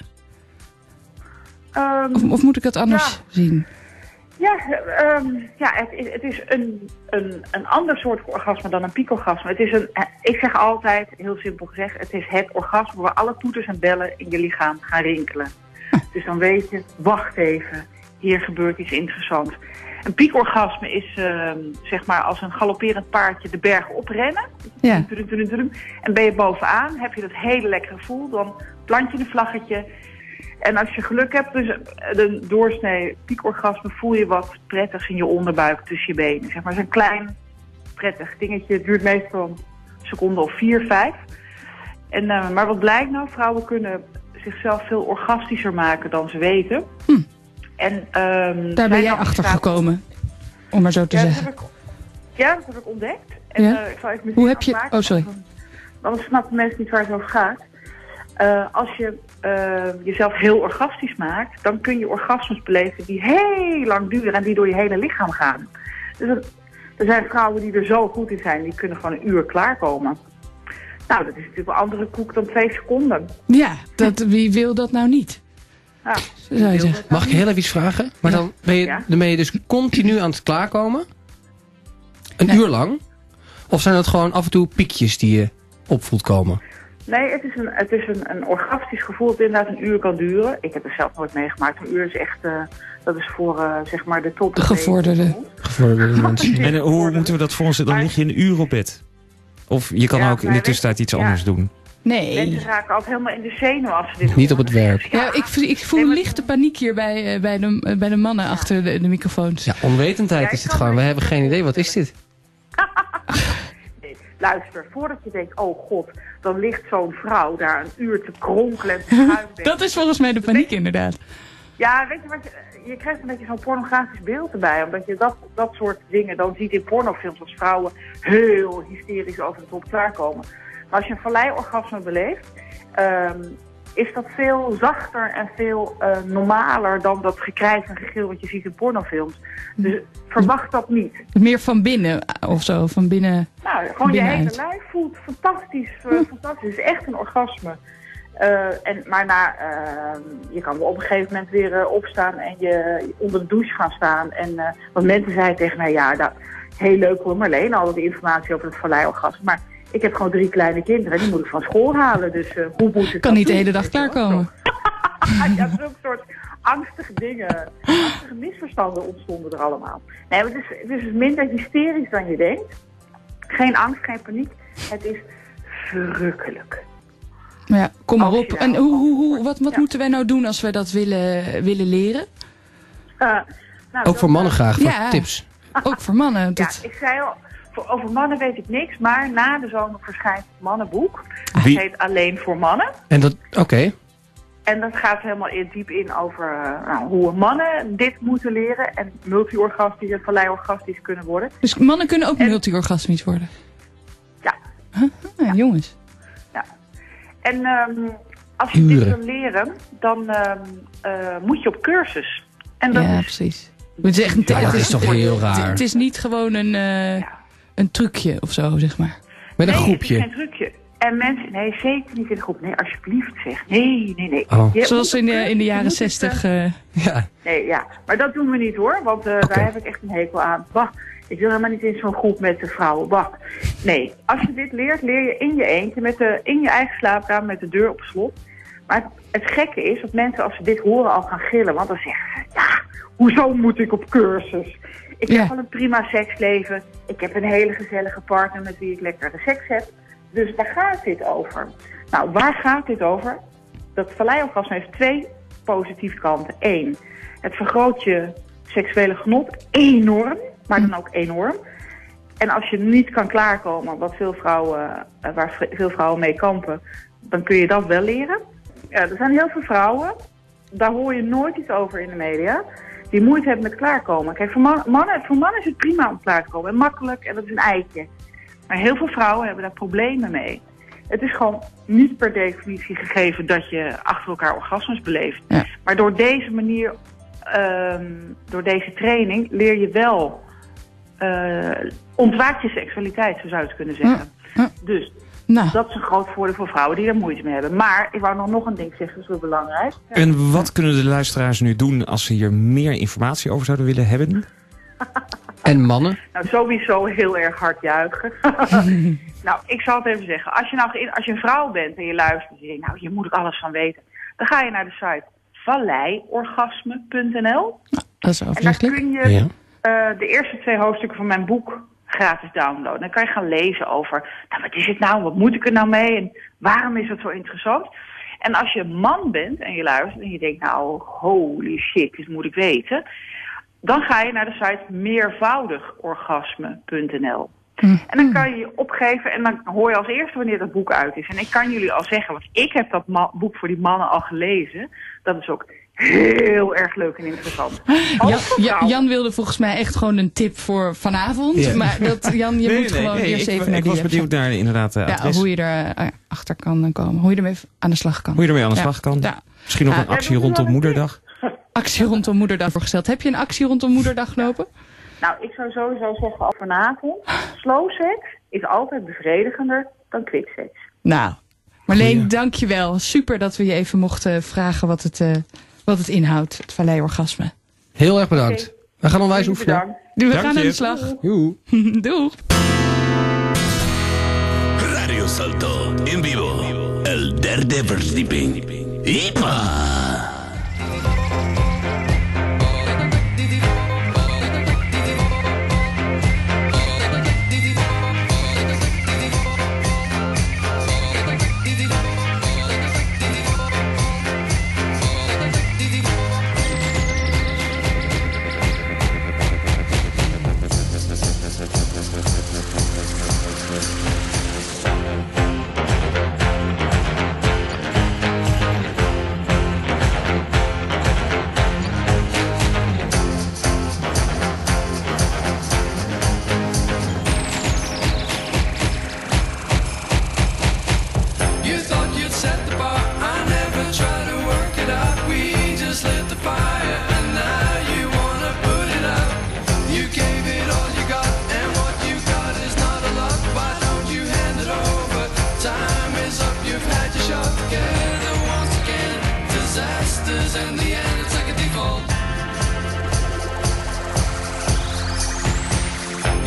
S6: Ehm,
S3: Of, of moet ik dat anders
S6: Ja.
S3: zien?
S6: ja, ehm, ja het, is- het is een, een, een ander soort orgasme dan een piekorgasme. Het is een, eh, ik zeg altijd, heel simpel gezegd, het is het orgasme waar alle toeters en bellen in je lichaam gaan rinkelen. Dus dan weet je, wacht even, hier gebeurt iets interessants. Een piekorgasme is ehm, zeg maar als een galopperend paardje de berg oprennen.
S3: Ja.
S6: Tudum, tudum, tudum. En ben je bovenaan, heb je dat hele lekkere gevoel, dan plant je een vlaggetje. En als je geluk hebt, dus eh, een doorsnee piekorgasme, voel je wat prettigs in je onderbuik tussen je benen. Zeg maar zo'n klein prettig dingetje. Het duurt meestal een seconde of vier, vijf. En, eh, maar wat blijkt nou? Vrouwen kunnen zichzelf veel orgastischer maken dan ze weten. En, ehm,
S3: Hm. Daar ben
S6: zijn
S3: jij
S6: dan
S3: achter
S6: staat-
S3: gekomen, om maar zo te
S6: ja, dat
S3: zeggen.
S6: heb ik, ja, dat heb ik ontdekt. En,
S3: Ja?
S6: eh, ik zal even muziek
S3: Hoe heb je-
S6: afmaken,
S3: oh, sorry.
S6: want dan- Anders snappen mensen niet waar het over gaat. Eh, als je eh, jezelf heel orgastisch maakt, dan kun je orgasmes beleven die heel lang duren en die door je hele lichaam gaan. Dus dat- er zijn vrouwen die er zo goed in zijn, die kunnen gewoon een uur klaarkomen. Nou, dat is natuurlijk een andere koek dan twee seconden.
S3: Ja, dat, wie wil dat nou niet?
S6: Ja.
S3: Zo zou je zeggen.
S2: Mag ik heel even iets vragen? Maar dan ben je,
S6: Ja.
S2: dan ben je dus continu aan het klaarkomen? Een
S3: Nee.
S2: uur lang? Of zijn dat gewoon af en toe piekjes die je op voelt komen?
S6: Nee, het is, een, het is een, een orgastisch gevoel dat inderdaad een uur kan duren. Ik heb het zelf nooit meegemaakt. Een uur is echt, eh, dat is voor eh, zeg maar de top.
S3: De
S6: [LAUGHS]
S3: gevorderde.
S2: Gevorderde mensen.
S1: En eh, hoe moeten we dat voor ons Dan
S6: Maar-
S1: lig je een uur op bed. Of je kan ook
S6: Ja,
S1: in
S6: maar
S1: de
S6: weet-
S1: tussentijd iets
S6: ja.
S1: anders doen.
S3: Nee.
S6: Mensen raken altijd helemaal in de zenuw als ze dit
S2: Niet op
S6: horen.
S2: het werk.
S3: Ja, ik, ik
S6: Nee,
S3: voel
S6: maar-
S3: lichte paniek hier bij, eh, bij, de, eh, bij de mannen achter de, de microfoons.
S2: Ja, onwetendheid
S6: Ja,
S2: is
S6: ik
S2: dit
S6: kan
S2: gewoon.
S6: me
S2: We
S6: niet
S2: hebben geen idee. Wat is dit?
S6: Luister, voordat je denkt, oh god, dan ligt zo'n vrouw daar een uur te kronkelen en te schuiven.
S3: Dat is volgens mij de paniek inderdaad.
S6: Ja, weet je wat, je, je krijgt een beetje zo'n pornografisch beeld erbij. Omdat je dat, dat soort dingen dan ziet in pornofilms als vrouwen heel hysterisch over de top klaarkomen. Maar als je een valleiorgasme beleeft, ehm, is dat veel zachter en veel eh, normaler dan dat gekrijs en gegil wat je ziet in pornofilms. Dus verwacht dat niet.
S3: Meer van binnen eh, of zo, van binnen.
S6: Nou, gewoon je hele
S3: Binnenuit. Hm.
S6: lijf voelt fantastisch. eh, fantastisch. Het is echt een orgasme. Eh, en, maar na, eh, je kan wel op een gegeven moment weer eh, opstaan en je onder de douche gaan staan. En, eh, want mensen zeiden tegen mij, ja, dat, heel leuk hoor Marleen, al die informatie over het valleiorgasme. Maar ik heb gewoon drie kleine kinderen, die moet ik van school halen. Dus eh, hoe moet ik
S3: Kan
S6: dat
S3: niet de
S6: doen?
S3: hele dag
S6: Weet je wel?
S3: klaarkomen.
S6: Ah, [LAUGHS] ja, zulke soort angstige dingen. Angstige misverstanden ontstonden er allemaal. Nee, maar het is, het is minder hysterisch dan je denkt. Geen angst, geen paniek. Het is verrukkelijk.
S3: Maar ja, kom maar
S6: Als je
S3: op.
S6: daar
S3: En
S6: al
S3: hoe, hoe, hoe, wat, wat
S6: Ja.
S3: moeten wij nou doen als wij dat willen, willen leren?
S6: Eh, nou, dat,
S2: Ook voor mannen Eh, graag. Voor
S3: Ja.
S2: tips.
S3: Ook voor mannen.
S6: Ja,
S3: Dat,
S6: ik zei al, voor, over mannen weet ik niks. Maar na de zomer verschijnt het mannenboek.
S1: Wie-
S6: Het heet Alleen voor Mannen.
S2: En dat... Oké.
S6: En dat gaat helemaal in, diep in over eh, nou, hoe mannen dit moeten leren. En multi-orgastisch en valleiorgastisch kunnen worden.
S3: dus mannen kunnen ook
S6: En-
S3: multi-orgasmisch worden.
S6: Ja,
S3: Ah, jongens.
S6: Ja. En ehm, als je dit
S2: Uren.
S6: wil leren, dan ehm, eh, moet je op cursus. En dat
S3: Ja,
S6: is,
S3: precies. Het is, echt,
S2: Ja, dat is toch heel
S3: het,
S2: raar.
S3: het is niet gewoon een, eh, een trucje of zo, zeg maar.
S2: Met een
S6: nee, Het is
S2: groepje.
S6: geen trucje. En mensen, nee, zeker niet in de groep. Nee, alsjeblieft zeg. Nee, nee, nee.
S2: Oh.
S6: Je-
S3: Zoals in de, in de
S6: Je
S3: jaren
S6: moet het,
S3: zestig.
S6: eh,
S3: eh,
S2: Ja.
S6: Nee, ja. Maar dat doen we niet hoor, want eh, daar heb ik echt een hekel aan. Wacht, ik wil helemaal niet in zo'n groep met de vrouwen. Wacht. Nee, als je dit leert, leer je in je eentje, met de, in je eigen slaapkamer, met de deur op slot. Maar het, het gekke is dat mensen als ze dit horen al gaan gillen. Want dan zeggen ze, ja, hoezo moet ik op cursus? Ik
S3: Ja.
S6: heb al een prima seksleven. Ik heb een hele gezellige partner met wie ik lekkere seks heb. Dus waar gaat dit over? Nou, waar gaat dit over? Dat valleiorgasme heeft twee positieve kanten. Eén, het vergroot je seksuele genot enorm, maar dan ook enorm. En als je niet kan klaarkomen, wat veel vrouwen, eh, waar vre- veel vrouwen mee kampen, dan kun je dat wel leren. Ja, er zijn heel veel vrouwen, daar hoor je nooit iets over in de media, die moeite hebben met klaarkomen. Kijk, voor man- mannen, voor mannen is het prima om klaar te komen en makkelijk en dat is een eitje. Maar heel veel vrouwen hebben daar problemen mee. Het is gewoon niet per definitie gegeven dat je achter elkaar orgasmes beleeft.
S3: Ja.
S6: Maar door deze manier, ehm, door deze training, leer je wel. eh ontwaakt je seksualiteit, zo zou je het kunnen zeggen.
S3: Ja, ja.
S6: Dus
S3: Hm. nou,
S6: dat is een groot voordeel voor vrouwen die er moeite mee hebben. Maar ik wou nog, nog een ding zeggen, dat is wel belangrijk.
S1: En wat kunnen de luisteraars nu doen als ze hier meer informatie over zouden willen hebben?
S2: [LAUGHS] En mannen.
S6: Nou, sowieso heel erg hard juichen. nou, ik zal het even zeggen. Als je, nou, ge- als je een vrouw bent en je luistert en je denkt, nou, hier moet ik alles van weten. Dan ga je naar de site valleiorgasme.nl.
S3: dat is
S6: En daar
S3: overzichtelijk.
S6: kun je eh, de eerste twee hoofdstukken van mijn boek gratis downloaden. Dan kan je gaan lezen over, nou, wat is het nou, wat moet ik er nou mee en waarom is het zo interessant? En als je een man bent en je luistert en je denkt, nou, holy shit, dit moet ik weten. Dan ga je naar de site meervoudigorgasme.nl. En dan kan je je opgeven en dan hoor je als eerste wanneer dat boek uit is. En ik kan jullie al zeggen, want ik heb dat ma- boek voor die mannen al gelezen. Dat is ook heel erg leuk en interessant. Ook
S3: Jan,
S6: voor
S3: Ja,
S6: vrouwen.
S3: Jan wilde volgens mij echt gewoon een tip voor vanavond.
S2: Ja.
S3: Maar dat, Jan, je moet gewoon eerst
S1: ik,
S3: even
S1: ik
S3: naar die
S1: was
S3: website.
S1: benieuwd naar inderdaad de
S3: Ja,
S1: adres. hoe,
S3: hoe
S1: je,
S3: je er eh, achter kan komen. Hoe je ermee aan de slag kan.
S1: ermee aan de
S3: Ja.
S1: slag kan.
S3: Ja.
S1: Misschien nog
S3: Ja,
S1: een actie
S6: dat is
S1: rondom
S6: wel een tip.
S1: moederdag.
S3: Actie rondom moederdag voorgesteld. Heb je een actie rondom moederdag lopen?
S6: Nou, ik zou sowieso zeggen al vanavond, slow sex is altijd bevredigender dan quick sex.
S3: Nou, Marleen, dankjewel. Super dat we je even mochten vragen wat het, eh, wat het inhoudt, het valleiorgasme.
S2: Heel erg bedankt. We gaan onwijs
S6: Jullie
S2: oefenen.
S6: bedankt.
S3: We
S1: Dank
S3: gaan aan
S1: je.
S3: de slag.
S2: Joe.
S6: [LAUGHS]
S3: Doeg.
S8: Radio Salto en vivo. El derde verdieping. ¡Ipa!
S9: You thought you'd set the bar. I never tried to work it out. We just lit the fire, and now you wanna put it out. You gave it all you got, and what you got is not a lot. Why don't you hand it over? Time is up, you've had your shot. Together once again, disasters in the end. It's like a default.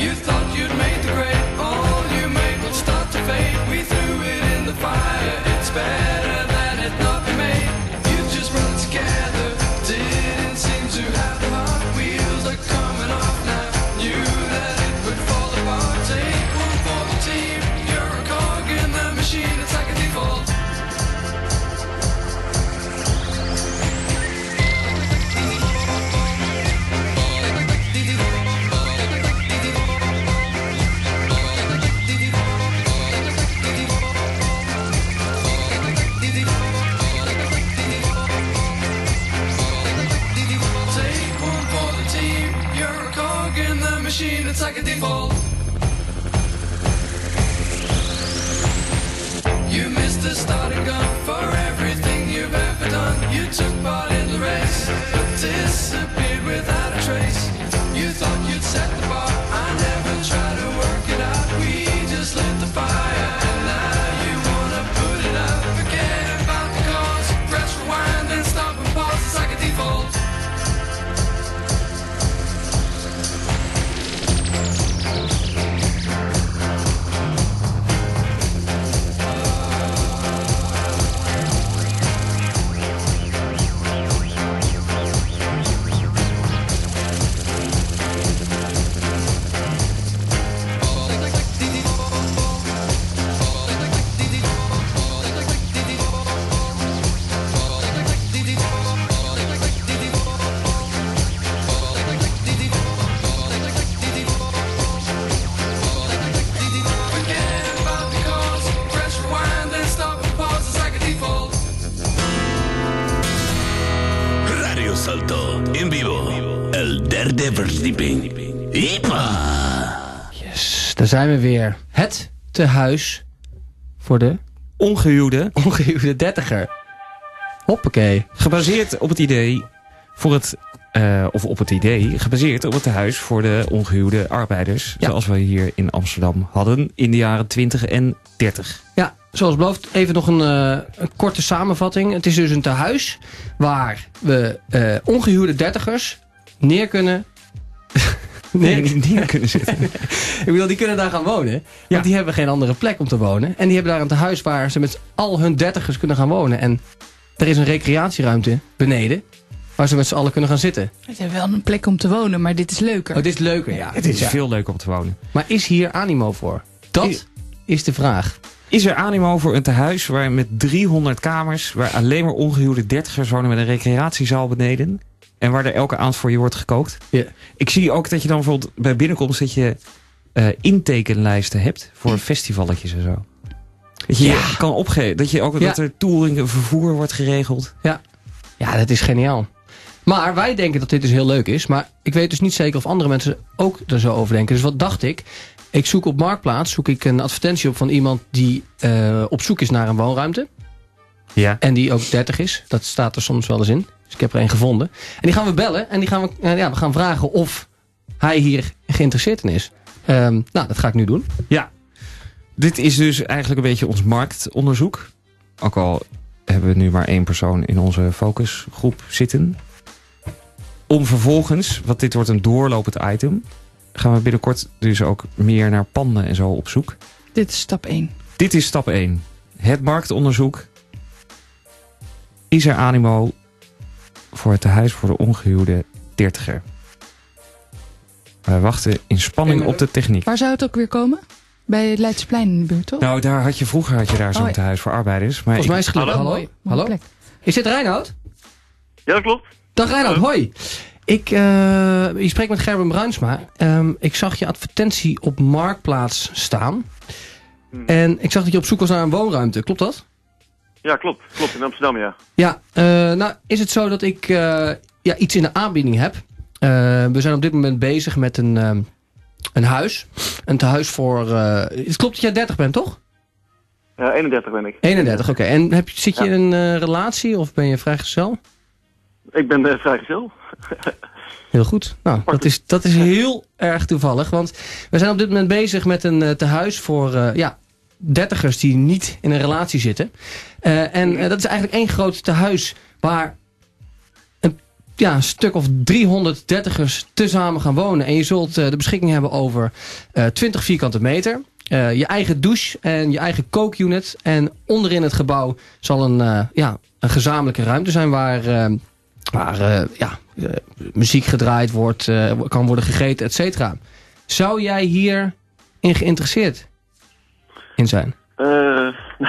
S9: You thought you'd made the grade, all you made will start to fade. We threw it in the fire, it's better than it not be made. You just brought it together, didn't seem to have the heart. Wheels are coming off now, knew that it would fall apart. Take one for the team, you're a cog in the machine, it's like a default. Take one for the team, you're a cog in the machine, it's like a default. You missed the starting gun for everything you've ever done. You took part in the race, but disappeared without a trace. You thought you'd set the bar. I never tried to work it out.
S8: verdieping. Ipa.
S2: Yes, daar zijn we weer. Het tehuis voor de
S1: Ongehuwde,
S2: ongehuwde dertiger. Hoppakee.
S1: gebaseerd op het idee voor het... eh, of op het idee, gebaseerd op het huis voor de ongehuwde arbeiders.
S2: Ja.
S1: Zoals we hier in Amsterdam hadden in de jaren 20 en 30.
S2: Ja, zoals beloofd, even nog een, eh, een korte samenvatting. Het is dus een tehuis waar we eh, ongehuwde dertigers neer kunnen. neer,
S1: [LAUGHS] Nee, niet kunnen zitten.
S2: [LAUGHS] ik bedoel, die kunnen daar gaan wonen. Want
S1: Ja.
S2: die hebben geen andere plek om te wonen. En die hebben daar een tehuis waar ze met al hun dertigers kunnen gaan wonen. En er is een recreatieruimte beneden waar ze met z'n allen kunnen gaan zitten.
S3: Het is wel een plek om te wonen, maar dit is leuker.
S2: Oh, dit is leuker, ja.
S1: Het is
S2: Ja.
S1: veel leuker om te wonen.
S2: Maar is hier animo voor? Dat is de vraag.
S1: Is er animo voor een tehuis waar met 300 kamers, waar alleen maar ongehuwde dertigers wonen met een recreatiezaal beneden? En waar er elke avond voor je wordt gekookt?
S2: Ja.
S1: Ik zie ook dat je dan bijvoorbeeld bij binnenkomst dat je eh, intekenlijsten hebt voor festivalletjes en zo. Dat je je kan opgeven. Dat je
S2: Ja.
S1: ook dat er touring en vervoer wordt geregeld.
S2: Ja, dat is geniaal. Maar wij denken dat dit dus heel leuk is. Maar ik weet dus niet zeker of andere mensen ook er zo over denken. Dus wat dacht ik? Ik zoek op Marktplaats zoek ik een advertentie op van iemand die eh, op zoek is naar een woonruimte.
S1: Ja.
S2: En die ook 30 is. Dat staat er soms wel eens in. Dus ik heb er één gevonden. En die gaan we bellen. En die gaan we, eh, ja, we gaan vragen of hij hier geïnteresseerd in is. Ehm, nou, dat ga ik nu doen.
S1: Dit is dus eigenlijk een beetje ons marktonderzoek. Ook al hebben we nu maar één persoon in onze focusgroep zitten. Om vervolgens, want dit wordt een doorlopend item, gaan we binnenkort dus ook meer naar panden en zo op zoek.
S3: Dit is stap 1.
S1: Dit is stap 1. Het marktonderzoek. Is er animo voor het tehuis voor de ongehuwde dertiger? Wij wachten in spanning op de techniek.
S3: Waar zou het ook weer komen? Bij het Leidseplein in de buurt, toch?
S1: Nou, daar had je vroeger had je daar zo'n
S3: Oh, ja.
S1: tehuis voor arbeiders. Maar
S2: Volgens mij is het gelukt.
S10: Hallo?
S2: Hallo?
S3: Mooie
S2: Hallo?
S3: plek.
S2: Is dit Reinoud?
S10: Ja, dat klopt.
S2: Dag Reinhard, hoi. Ik, eh je spreekt met Gerben Bruinsma. Ehm, ik zag je advertentie op Marktplaats staan.
S10: Hmm.
S2: En ik zag dat je op zoek was naar een woonruimte, klopt dat?
S10: Ja, klopt. Klopt, in Amsterdam, ja.
S2: Ja, eh, nou is het zo dat ik eh, ja, iets in de aanbieding heb. Eh, we zijn op dit moment bezig met een, ehm, een huis. Een tehuis voor... eh, het klopt dat jij 30 bent, toch?
S10: Ja, 31 ben ik.
S2: 31, oké. En heb, je- zit je
S10: Ja.
S2: in een eh, relatie of ben je vrijgezel?
S10: Ik ben eh, vrijgezel.
S2: Heel goed. Nou, dat is, dat is heel erg toevallig. Want we zijn op dit moment bezig met een eh, tehuis voor eh, ja, dertigers die niet in een relatie zitten. Eh, en eh, dat is eigenlijk één groot tehuis waar een ja, een stuk of 300 dertigers tezamen gaan wonen. En je zult eh, de beschikking hebben over eh 20 vierkante meter. eh, je eigen douche en je eigen kookunit. En onderin het gebouw zal een, eh, ja, een gezamenlijke ruimte zijn waar, eh, waar eh, ja, eh, muziek gedraaid wordt, eh, kan worden gegeten, et cetera. Zou jij hierin geïnteresseerd in zijn?
S10: Eh, [LAUGHS]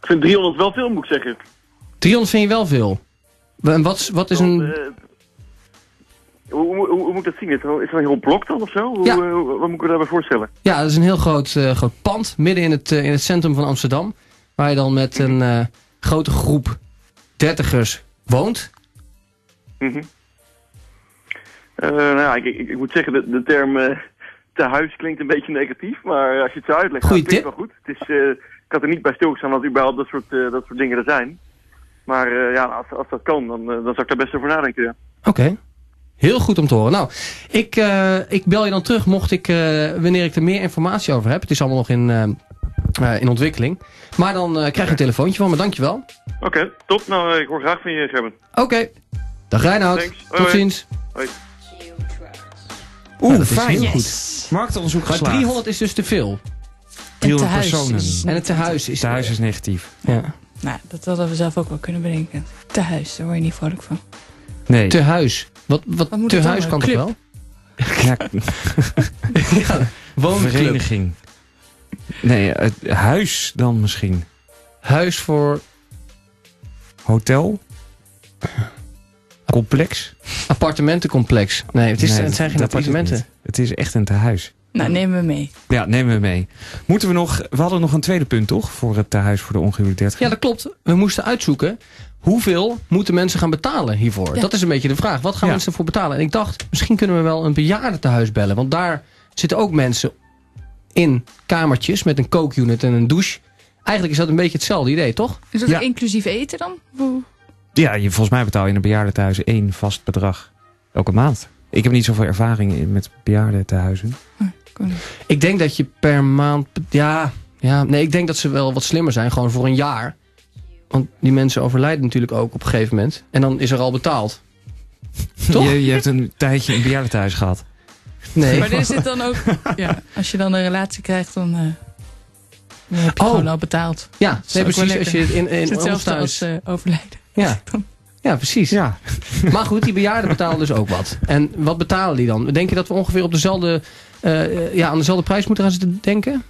S10: ik vind 300 wel veel, moet ik zeggen.
S2: 300 vind je wel veel. En wat, wat is
S10: Want,
S2: een...
S10: eh, hoe, hoe, hoe- hoe moet ik dat zien? Is er is er een heel blok dan of zo? Hoe,
S2: Ja.
S10: eh, hoe- wat moet ik me daarbij voorstellen?
S2: Ja, dat is een heel groot, eh, groot pand midden in het, eh, in het centrum van Amsterdam. Waar je dan met een eh, grote groep dertigers woont.
S10: Mhm. Eh, nou ja, ik, ik, ik moet zeggen, de, de term eh tehuis klinkt een beetje negatief. Maar als je het zo uitlegt,
S2: Goeie
S10: nou, het
S2: tip.
S10: klinkt wel goed. Het is, eh, ik had er niet bij stilgestaan dat überhaupt dat soort, eh, dat soort dingen er zijn. Maar eh, ja, als, als dat kan, dan, eh, dan zou ik daar best over nadenken. Ja.
S2: Oké. Heel goed om te horen. Nou, ik, eh, ik bel je dan terug mocht ik, eh, wanneer ik er meer informatie over heb. Het is allemaal nog in, eh, eh, in ontwikkeling. Maar dan eh, krijg je een telefoontje van me. Dankjewel.
S10: Oké, top. Nou, eh, ik hoor graag van je, Gerben.
S2: Oké. Dag Reinoud.
S10: Thanks. Hoi,
S2: Tot
S10: hoi.
S2: ziens.
S1: Oeh,
S2: Nou, dat is
S1: fijn.
S2: heel goed.
S1: Marktonderzoek
S2: Maar
S1: geslaagd.
S2: 300 is dus te veel.
S3: En
S1: 300
S3: tehuis
S1: personen.
S3: is-
S2: En het tehuis is...
S1: Thuis is negatief.
S2: Ja.
S3: Nou, dat hadden we zelf ook wel kunnen bedenken. Tehuis, daar word je niet vrolijk van.
S1: Nee.
S2: Tehuis. Wat, wat,
S3: Wat moet het
S2: tehuis
S3: dan?
S2: kan toch
S3: Club?
S2: wel? [LAUGHS]
S1: Ja,
S2: Ja. Woonclub.
S1: vereniging. Nee, het huis dan misschien.
S2: Huis voor
S1: Hotel. Complex.
S2: appartementencomplex. Nee, het, is,
S1: Nee,
S2: het zijn geen
S1: dat is
S2: appartementen.
S1: niet. Het is echt een tehuis.
S3: Nou, neem me mee.
S1: Ja, nemen we mee. Moeten we nog... We hadden nog een tweede punt, toch? Voor het tehuis voor de ongehuwde 30.
S2: Ja, dat klopt. We moesten uitzoeken hoeveel moeten mensen gaan betalen hiervoor.
S3: Ja.
S2: Dat is een beetje de vraag. Wat gaan
S1: Ja.
S2: mensen ervoor betalen? En ik dacht, misschien kunnen we wel een bejaarde tehuis bellen. Want daar zitten ook mensen in kamertjes met een kookunit en een douche. Eigenlijk is dat een beetje hetzelfde idee, toch?
S3: Is dat
S1: Ja.
S3: inclusief eten dan? Hoe-
S1: Ja, je, volgens mij betaal je in een bejaardentehuis één vast bedrag. Elke maand. Ik heb niet zoveel ervaring in, met bejaardentehuizen.
S2: Ik denk dat je per maand... be- Ja, ja, nee, ik denk dat ze wel wat slimmer zijn. Gewoon voor een jaar. Want die mensen overlijden natuurlijk ook op een gegeven moment. En dan is er al betaald. [LAUGHS] Toch?
S1: Je, je hebt een tijdje een bejaardentehuis gehad.
S2: Nee.
S3: Maar er zit dan
S2: [LAUGHS]
S3: ook... Ja, als je dan een relatie krijgt, dan... eh, dan heb je
S2: Oh.
S3: gewoon al betaald.
S2: Ja,
S3: ook
S2: nee,
S3: wel
S2: precies.
S3: lekker.
S2: Als je het in, in ons
S3: Het is hetzelfde
S2: thuis...
S3: als eh, overlijden. [LAUGHS]
S2: Ja. ja, precies.
S1: Ja.
S2: [LAUGHS] Maar goed, die bejaarden betalen dus ook wat. En wat betalen die dan? Denk je dat we ongeveer op dezelfde, eh, ja, aan dezelfde prijs moeten gaan zitten denken?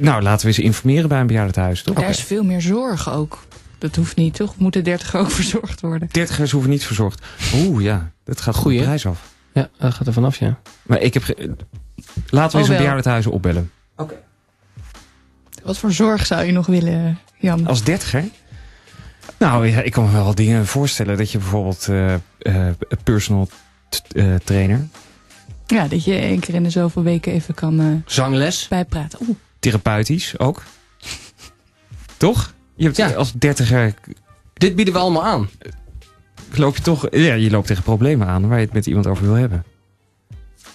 S1: Nou, laten we eens informeren bij een bejaardentehuis, toch?
S3: Daar is veel meer zorg ook. Dat hoeft niet, toch? Moeten dertig [LAUGHS] ook verzorgd worden?
S1: Dertigers hoeven niet verzorgd. Oeh, ja. Dat gaat goed
S2: Goeie.
S1: de prijs af.
S2: Ja, dat gaat er vanaf, ja.
S1: Maar ik heb... ge- Laten we
S3: Oh,
S1: eens een
S3: wel.
S1: bejaardentehuis opbellen.
S3: Wat voor zorg zou je nog willen, Jan?
S1: Als dertiger? Nou, ja, ik kan me wel dingen voorstellen. Dat je bijvoorbeeld eh, eh, personal t- eh, trainer,
S3: Ja, dat je één keer in de zoveel weken even kan eh,
S2: Zangles.
S3: bijpraten. Oeh,
S1: therapeutisch ook. toch? Je hebt,
S2: Ja.
S1: Als dertiger Eh,
S2: Dit bieden we allemaal aan.
S1: loop je toch... Ja, je loopt tegen problemen aan waar je het met iemand over wil hebben.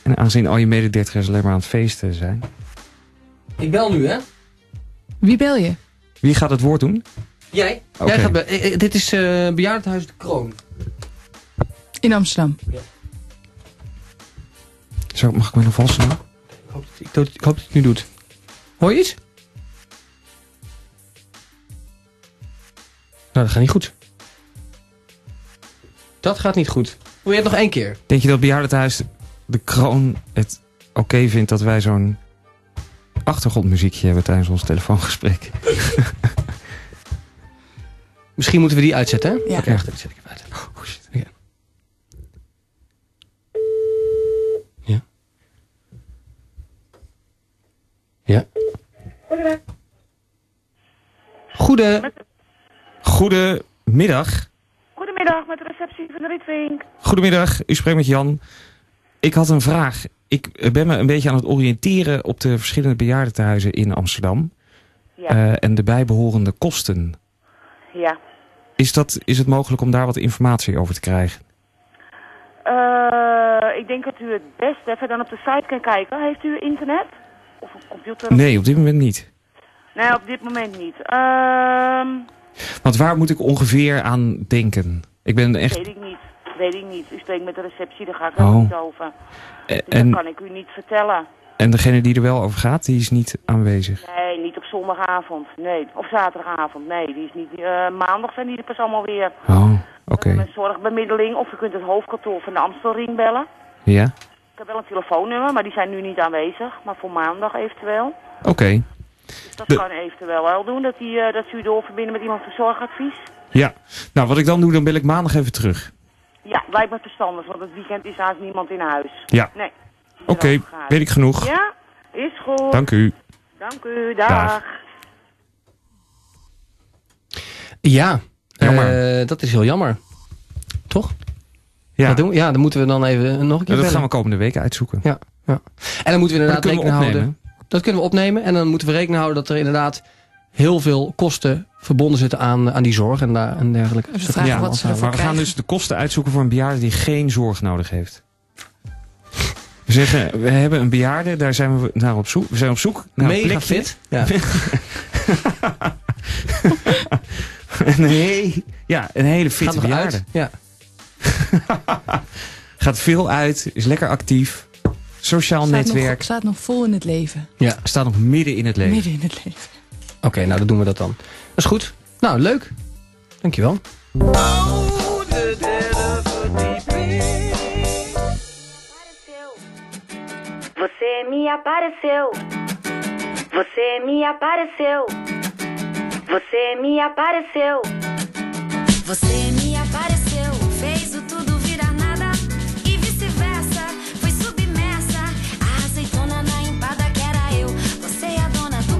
S1: En aangezien al je mededertigers alleen maar aan het feesten zijn...
S2: Ik bel nu, hè?
S3: wie bel je?
S1: Wie gaat het woord doen?
S2: Jij?
S1: Oké.
S2: Jij gaat be- eh, eh, dit is eh Bejaardenhuis De Kroon.
S3: In Amsterdam.
S1: Zo, mag ik me nog vaststellen?
S2: Ik hoop, dat- ik, doe- ik hoop dat je het nu doet. Hoor je iets? Nou, dat gaat niet goed. Dat gaat niet goed. Wil je het nog één keer?
S1: Denk je dat Bejaardentehuis de kroon het oké vindt dat wij zo'n achtergrondmuziekje hebben tijdens ons telefoongesprek?
S2: Misschien moeten we die uitzetten, hè?
S3: Ja.
S2: Oké, wacht even, zet ik hem uit.
S1: Oh, shit.
S2: Ja. Goede.
S1: Goedemiddag.
S11: Goedemiddag, met de receptie van de Rietvink.
S1: Goedemiddag, u spreekt met Jan. Ik had een vraag. Ik eh, ben me een beetje aan het oriënteren op de verschillende bejaardentehuizen in Amsterdam.
S11: Ja.
S1: eh, en de bijbehorende kosten.
S11: Ja.
S1: Is, dat, is het mogelijk om daar wat informatie over te krijgen?
S11: Eh, ik denk dat u het best even dan op de site kan kijken. Heeft u internet? Of een computer?
S1: Nee, op dit moment niet.
S11: Nee, op dit moment niet. Ehm,
S1: Want waar moet ik ongeveer aan denken? Ik ben echt...
S11: weet ik niet. Weet ik niet. U spreekt met de receptie, daar ga ik
S1: Oh.
S11: helemaal niet over.
S1: eh,
S11: Dus
S1: En,
S11: dat kan ik u niet vertellen.
S1: en degene die er wel over gaat, die is niet aanwezig.
S11: Nee, niet op zondagavond. Nee, of zaterdagavond. Nee, die is niet... eh, maandag zijn die er pas allemaal weer.
S1: Oh, oké.
S11: Een zorgbemiddeling. Of u kunt het hoofdkantoor van de Amstelring bellen.
S1: Ja,
S11: Ik heb wel een telefoonnummer, maar die zijn nu niet aanwezig. Maar voor maandag eventueel.
S1: oké.
S11: Dat
S1: De-
S11: kan eventueel wel doen, dat, die, eh, dat ze u doorverbinden met iemand voor zorgadvies.
S1: Ja. Nou, wat ik dan doe, dan bel ik maandag even terug.
S11: Ja, lijkt me verstandig, want het weekend is haast niemand in huis.
S1: Ja.
S11: Nee.
S1: Oké, weet ik genoeg.
S11: Ja, is goed.
S1: Dank u.
S11: Dank u,
S1: Dag.
S11: dag.
S2: Ja.
S1: Jammer.
S2: Eh, dat is heel jammer. Toch?
S1: Ja,
S2: Wat doen we? ja, dan moeten we dan even nog een keer
S1: dat gaan
S2: bellen.
S1: we komende week uitzoeken.
S2: Ja, ja. En dan moeten we
S1: Dat
S2: inderdaad
S1: kunnen we
S2: rekening houden.
S1: opnemen.
S2: Dat kunnen we opnemen. En dan moeten we rekening houden dat er inderdaad heel veel kosten verbonden zitten aan, aan die zorg en, daar, en dergelijke.
S3: Dus we
S2: Dat
S3: vragen
S2: gaan we
S3: wat ze
S2: allemaal
S1: Maar we gaan
S3: krijgen.
S1: dus de kosten uitzoeken voor een bejaarde die geen zorg nodig heeft. We zeggen, we hebben een bejaarde, daar zijn we naar op zoek. We zijn op zoek naar een
S2: Mega
S1: plekje.
S2: fit. Ja.
S1: [LAUGHS] Een he- ja, een hele
S2: Gaat
S1: dus fitte
S2: nog
S1: bejaarde.
S2: uit. Ja.
S1: Gaat veel uit, is lekker actief. Sociaal
S3: staat
S1: netwerk.
S3: Nog, staat nog vol in het leven.
S2: ja.
S1: Staat nog midden in het leven.
S3: Midden in het leven.
S2: Oké, nou dan doen we dat dan. Dat is goed. Nou, leuk. Dankjewel.
S12: Você me apareceu. Você me apareceu. Você me apareceu.
S7: Você me apareceu, fez o tudo virar nada e vice-versa. Fui submersa, a azeitona.
S12: é É é um um É é um É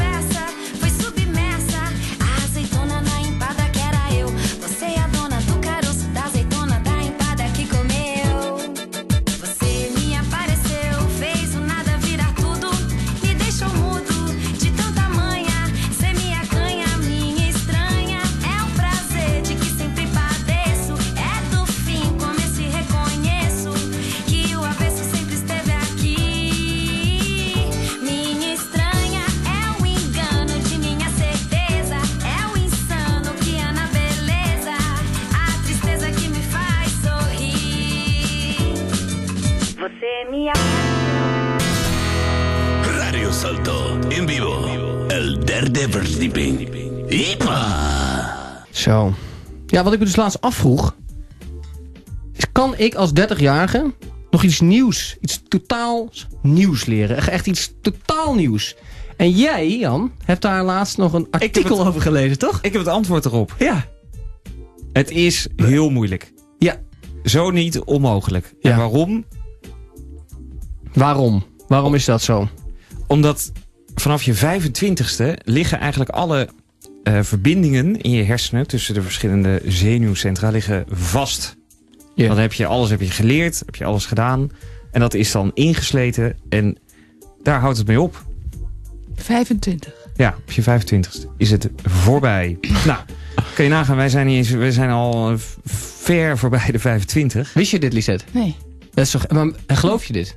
S12: é É um é um é é
S8: Zeeverdieping. Ipa.
S2: Zo. Ja, wat ik me dus laatst afvroeg. Is kan ik als 30-jarige nog iets nieuws, iets totaal nieuws leren? Echt- Echt iets totaal nieuws. En jij, Jan, hebt daar laatst nog een artikel over gelezen, toch?
S1: Ik heb het antwoord erop.
S2: Ja.
S1: Het is heel moeilijk.
S2: Ja.
S1: Zo niet onmogelijk. En waarom?
S2: Waarom? Waarom is dat zo?
S1: Omdat vanaf je 25ste liggen eigenlijk alle eh, verbindingen in je hersenen tussen de verschillende zenuwcentra liggen vast. Dan heb je alles heb je geleerd, heb je alles gedaan. En dat is dan ingesleten en daar houdt het mee op.
S3: 25.
S1: Ja, op je 25ste is het
S2: [CLEARS THROAT]
S1: voorbij. nou, kun je nagaan, wij zijn, niet eens, wij zijn al eh, ver voorbij de 25.
S2: Wist je dit, Lisette?
S3: Nee.
S2: Dat is toch, maar geloof je dit?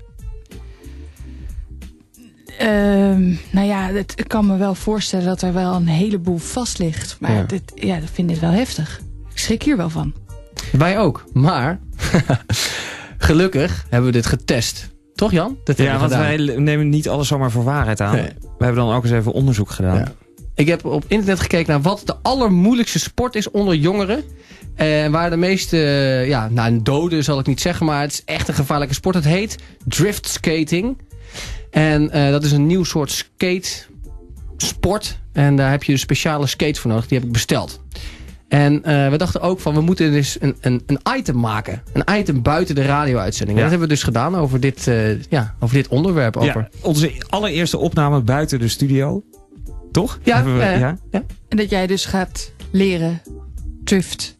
S3: Ehm, nou ja, het, ik kan me wel voorstellen dat er wel een heleboel vast ligt. Maar
S2: Ja.
S3: Dit, ja, ik vind dit wel heftig. Ik schrik hier wel van.
S2: Wij ook. Maar, [LAUGHS] gelukkig hebben we dit getest. Toch, Jan? Dat
S1: ja,
S2: hebben we
S1: want
S2: gedaan.
S1: wij nemen niet alles zomaar voor waarheid aan.
S2: Nee.
S1: We hebben dan ook eens even onderzoek gedaan.
S2: Ik heb op internet gekeken naar wat de allermoeilijkste sport is onder jongeren. En waar de meeste, eh, ja, nou, doden zal ik niet zeggen, maar het is echt een gevaarlijke sport. Het heet drift skating. En eh, dat is een nieuw soort skate sport. En daar heb je dus speciale skates voor nodig. Die heb ik besteld. En eh, we dachten ook van, we moeten dus een, een, een item maken. Een item buiten de radio-uitzending. En Dat
S1: Ja.
S2: hebben we dus gedaan over dit, eh, ja, over dit onderwerp. Over.
S1: Ja, onze allereerste opname buiten de studio. Toch?
S2: Ja,
S1: Hebben we-
S2: eh,
S1: ja?
S3: En dat jij dus gaat leren drift.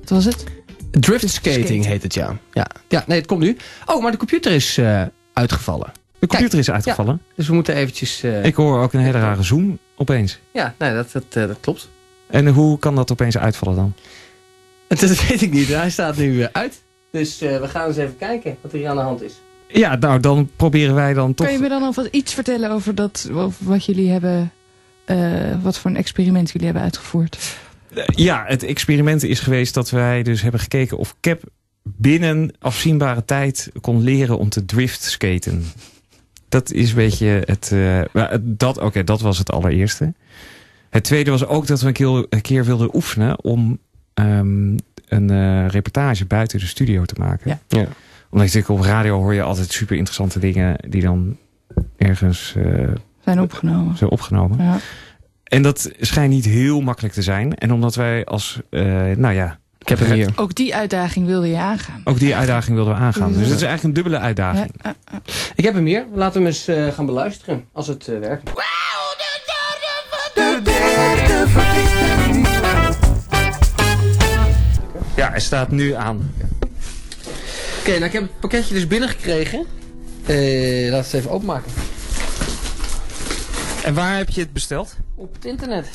S3: Wat was het?
S2: Drift skating heet het, ja. ja. Ja, nee, het komt nu. Oh, maar de computer is eh, uitgevallen.
S1: De computer is uitgevallen.
S2: Dus we moeten eventjes... eh,
S1: Ik hoor ook een hele rare zoom opeens.
S2: Ja, nee, dat, dat, eh, dat klopt.
S1: En hoe kan dat opeens uitvallen dan?
S2: [LAUGHS] Dat weet ik niet. Hij staat nu eh, uit. Dus eh, we gaan eens even kijken wat er hier aan de hand is.
S1: Ja, nou dan proberen wij dan toch.
S3: Kan je me dan alvast iets vertellen over dat, of wat jullie hebben, eh, wat voor een experiment jullie hebben uitgevoerd?
S1: Ja, het experiment is geweest dat wij dus hebben gekeken of Cap binnen afzienbare tijd kon leren om te driftskaten. Dat is een beetje het... eh, maar het- dat, oké, dat was het allereerste. Het tweede was ook dat we een keer, een keer wilden oefenen om ehm, een eh, reportage buiten de studio te maken.
S2: Ja.
S1: Omdat je natuurlijk op radio hoor je altijd super interessante dingen die dan ergens eh,
S3: Zijn opgenomen.
S1: zijn opgenomen.
S3: Ja.
S1: En dat schijnt niet heel makkelijk te zijn. En omdat wij als, eh, nou ja... Ik heb hier.
S3: Ook die uitdaging wilde je aangaan.
S1: Ook die uitdaging wilden we aangaan. Dus het is eigenlijk een dubbele uitdaging.
S2: Ik heb hem hier. Laten we hem eens eh, gaan beluisteren. Als het eh, werkt.
S1: Ja, hij staat nu aan.
S2: Oké, nou ik heb het pakketje dus binnengekregen. Eh laten we het even openmaken.
S1: En waar heb je het besteld?
S2: Op het internet.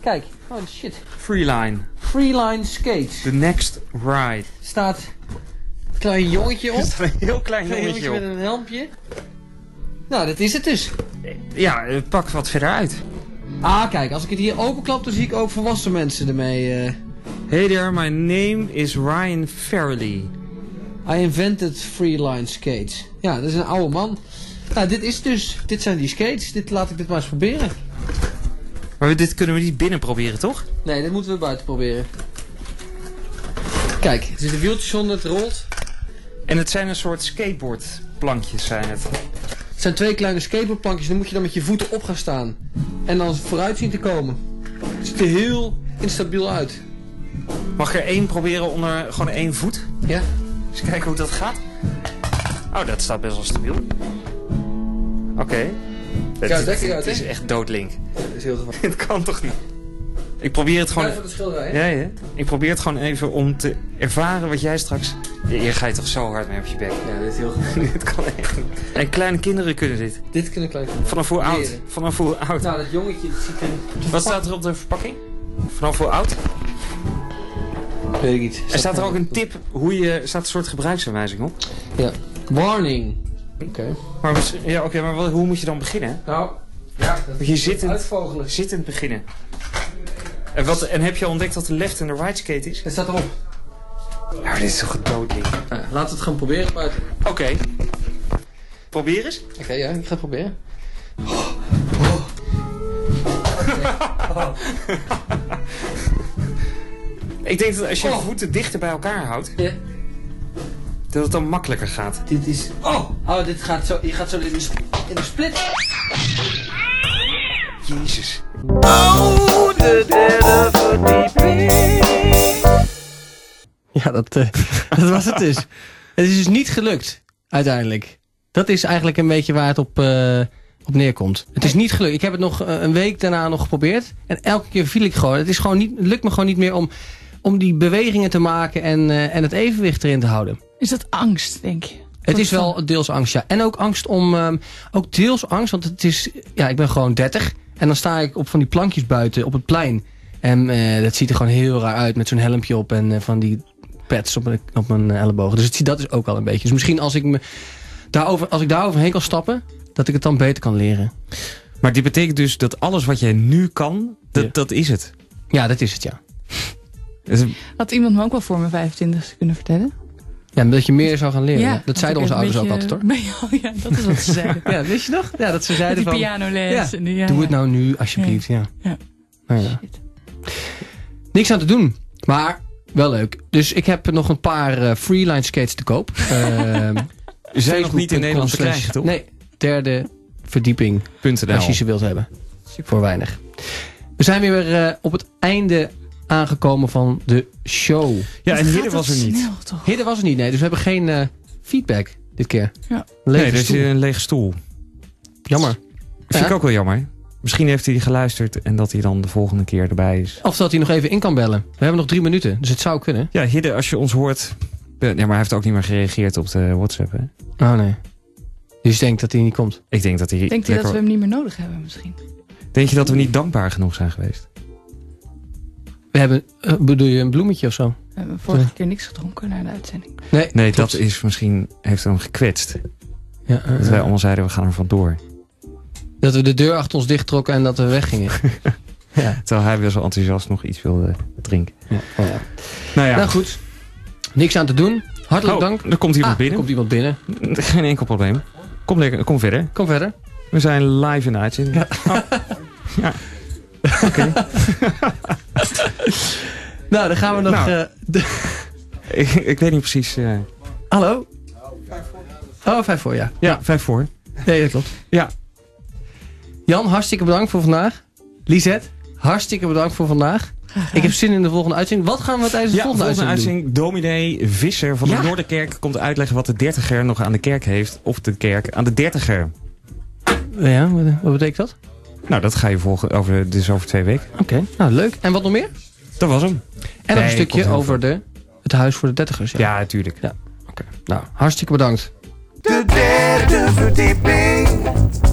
S2: Kijk. Oh shit.
S1: Freeline.
S2: Freeline skates.
S1: The next ride.
S2: Staat een klein jongetje op.
S1: Er [LAUGHS] staat een heel klein
S2: Een
S1: jongetje op.
S2: met een helmpje. Nou, dat is het dus.
S1: Ja, eh, pak wat verder uit.
S2: Ah, kijk, als ik het hier openklap, dan zie ik ook volwassen mensen ermee. eh.
S1: Hey there, my name is Ryan Farrelly.
S2: I invented freeline skates. Ja, dat is een oude man. Nou, dit is dus, dit zijn die skates. Dit laat ik dit maar eens proberen.
S1: Maar we- dit kunnen we niet binnen proberen, toch?
S2: Nee, dit moeten we buiten proberen. Kijk, er zitten wieltjes onder, het rolt.
S1: En het zijn een soort skateboardplankjes, zijn het.
S2: Het zijn twee kleine skateboardplankjes, dan moet je dan met je voeten op gaan staan. En dan vooruit zien te komen. Het ziet er heel instabiel uit.
S1: Mag ik er één proberen onder gewoon één voet?
S2: Ja.
S1: Eens kijken hoe dat gaat. Oh, dat staat best wel stabiel. Oké.
S2: Kijk,
S1: Het,
S2: kijk
S1: het,
S2: uit, hè?
S1: is echt doodlink.
S2: Dat is heel gevaarlijk.
S1: Het kan toch niet? Ik probeer het gewoon...
S2: Blijf van de schilderij, hè?
S1: Ja, ja. Ik probeer het gewoon even om te ervaren wat jij straks... Ja, Hier ga je toch zo hard mee op je bek.
S2: Ja, dit is heel gevaarlijk.
S1: [LAUGHS] dit kan echt niet. En kleine kinderen kunnen dit.
S2: Dit kunnen klein
S1: Vanaf hoe oud?
S2: Leren.
S1: Vanaf hoe oud?
S2: Nou, dat jongetje dat ziet er...
S1: Wat staat er op de verpakking? Vanaf hoe oud?
S2: Weet ik niet.
S1: Er staat er ook een tip hoe je... Er staat een soort gebruiksaanwijzing op.
S2: Ja. Warning. Oké.
S1: Maar, mis- ja, oké, maar wat- hoe moet je dan beginnen?
S2: Nou, ja, dat
S1: Moet je zittend,
S2: uitvogelen.
S1: zittend beginnen. En, wat, en heb je al ontdekt wat de left en de right skate is?
S2: Het staat erop.
S1: Nou, dit is toch een doodling.
S2: Ah, Laten we het gaan proberen buiten.
S1: Oké. Probeer eens.
S2: Oké, ja, ik ga het proberen.
S1: Ik denk dat als
S2: Oh.
S1: je je voeten dichter bij elkaar houdt, dat het dan makkelijker gaat.
S2: Dit is... Oh, oh dit gaat zo, je gaat zo in de, sp- in de split.
S1: Jezus.
S9: Oh, de derde verdieping.
S2: [LAUGHS] Ja, dat, eh, dat was het dus. Het is dus niet gelukt, uiteindelijk. Dat is eigenlijk een beetje waar het op, eh, op neerkomt. Het is niet gelukt. Ik heb het nog eh, een week daarna nog geprobeerd. En elke keer viel ik gewoon. Het is gewoon niet, het lukt me gewoon niet meer om, om die bewegingen te maken en, eh, en het evenwicht erin te houden.
S3: Is dat angst, denk je?
S2: Het is wel deels angst, ja. En ook angst om... ehm, ook deels angst, want het is... Ja, ik ben gewoon 30. En dan sta ik op van die plankjes buiten op het plein. En eh, dat ziet er gewoon heel raar uit met zo'n helmpje op en eh, van die pads op mijn, op mijn eh, ellebogen. Dus het, zie- dat is ook al een beetje. Dus misschien als ik, me daarover, als ik daar overheen kan stappen, dat ik het dan beter kan leren.
S1: Maar dit betekent dus dat alles wat jij nu kan, dat, dat is het.
S2: Ja, dat is het, ja.
S1: Dat is-
S3: Had iemand me ook wel voor mijn 25 kunnen vertellen?
S2: Ja, dat je meer zou gaan leren.
S3: Ja,
S2: dat zeiden onze ouders ook altijd, hoor.
S3: [LAUGHS] hoor. Ja, dat is wat ze zeiden.
S2: Ja, wist je nog? Ja, dat ze zeiden
S3: Met die
S2: van...
S3: pianoles
S2: Ja,
S3: en die- ja,
S2: doe
S3: ja.
S2: het nou nu, alsjeblieft. Ja.
S3: Ja.
S2: Nou ja. Niks aan te doen. Maar wel leuk. Dus ik heb nog een paar eh, freeline skates te
S3: [LAUGHS]
S2: koop. Eh,
S1: zijn nog niet in Nederland
S2: facebook.com
S1: te
S2: slash-
S1: krijgen, toch?
S2: Nee, derde verdieping. Als je ze wilt hebben. Voor weinig. We zijn weer eh, op het einde aangekomen van de show.
S1: Ja, en Hidde was er niet.
S2: Hidden was er niet, nee. Dus we hebben geen eh, feedback dit keer.
S3: Ja.
S2: Lege
S1: nee, er is
S2: stoel.
S1: hier een lege stoel.
S2: Jammer.
S1: Vind ik
S2: Ja.
S1: ook wel jammer. Misschien heeft hij geluisterd en dat hij dan de volgende keer erbij is.
S2: Of dat hij nog even in kan bellen. We hebben nog drie minuten, dus het zou kunnen.
S1: Ja, Hidde, als je ons hoort... eh, Ja, maar hij heeft ook niet meer gereageerd op de WhatsApp, hè?
S2: Oh nee. Dus je denkt dat hij niet komt?
S1: Ik denk dat hij...
S3: Denkt hij dat we
S1: lekker-
S3: hem niet meer nodig hebben misschien?
S1: Denk je dat we niet dankbaar genoeg zijn geweest?
S2: We hebben, eh, bedoel je een bloemetje of zo?
S3: We hebben vorige keer niks gedronken na de uitzending.
S2: Nee,
S1: Nee,
S2: klopt.
S1: dat is misschien... Heeft hem gekwetst.
S2: Ja, eh,
S1: Dat wij allemaal zeiden, we gaan er vandoor.
S2: Dat we de deur achter ons dicht trokken en dat we weggingen. ja.
S1: Terwijl hij wel zo enthousiast nog iets wilde drinken.
S2: Ja. Oh, ja.
S1: [LAUGHS] Nou ja.
S2: Nou goed, niks aan te doen. Hartelijk
S1: Oh,
S2: dank.
S1: Er komt iemand
S2: Ah,
S1: binnen.
S2: Er komt iemand binnen.
S1: [LAUGHS] Geen enkel probleem. Kom, lekker, kom verder.
S2: Kom verder.
S1: We zijn live in de uitzending.
S2: Nou, dan gaan we nog...
S1: Nou.
S2: eh, de-
S1: [LAUGHS] ik, ik weet niet precies. eh,
S2: Hallo? Oh, vijf voor, ja.
S1: ja, vijf voor.
S2: Nee, dat klopt.
S1: Ja.
S2: Jan, hartstikke bedankt voor vandaag. Lisette, hartstikke bedankt voor vandaag. Ik heb zin in de volgende uitzending. Wat gaan we tijdens de
S1: Ja,
S2: volgende,
S1: volgende
S2: uitzending
S1: uitzending. Dominee Visser van
S2: Ja.
S1: de Noorderkerk komt uitleggen wat de dertiger nog aan de kerk heeft. Of de kerk aan de dertiger.
S2: doen? Ja, wat, wat betekent dat?
S1: Nou, dat ga je volgen over, dus over twee weken.
S2: Oké, nou leuk. En wat nog meer?
S1: Dat was hem.
S2: En nog
S1: Nee,
S2: een
S1: komt
S2: stukje
S1: heel
S2: over de, het huis voor de dertigers. Ja.
S1: Ja, natuurlijk.
S2: Nou, hartstikke bedankt.
S9: De derde verdieping.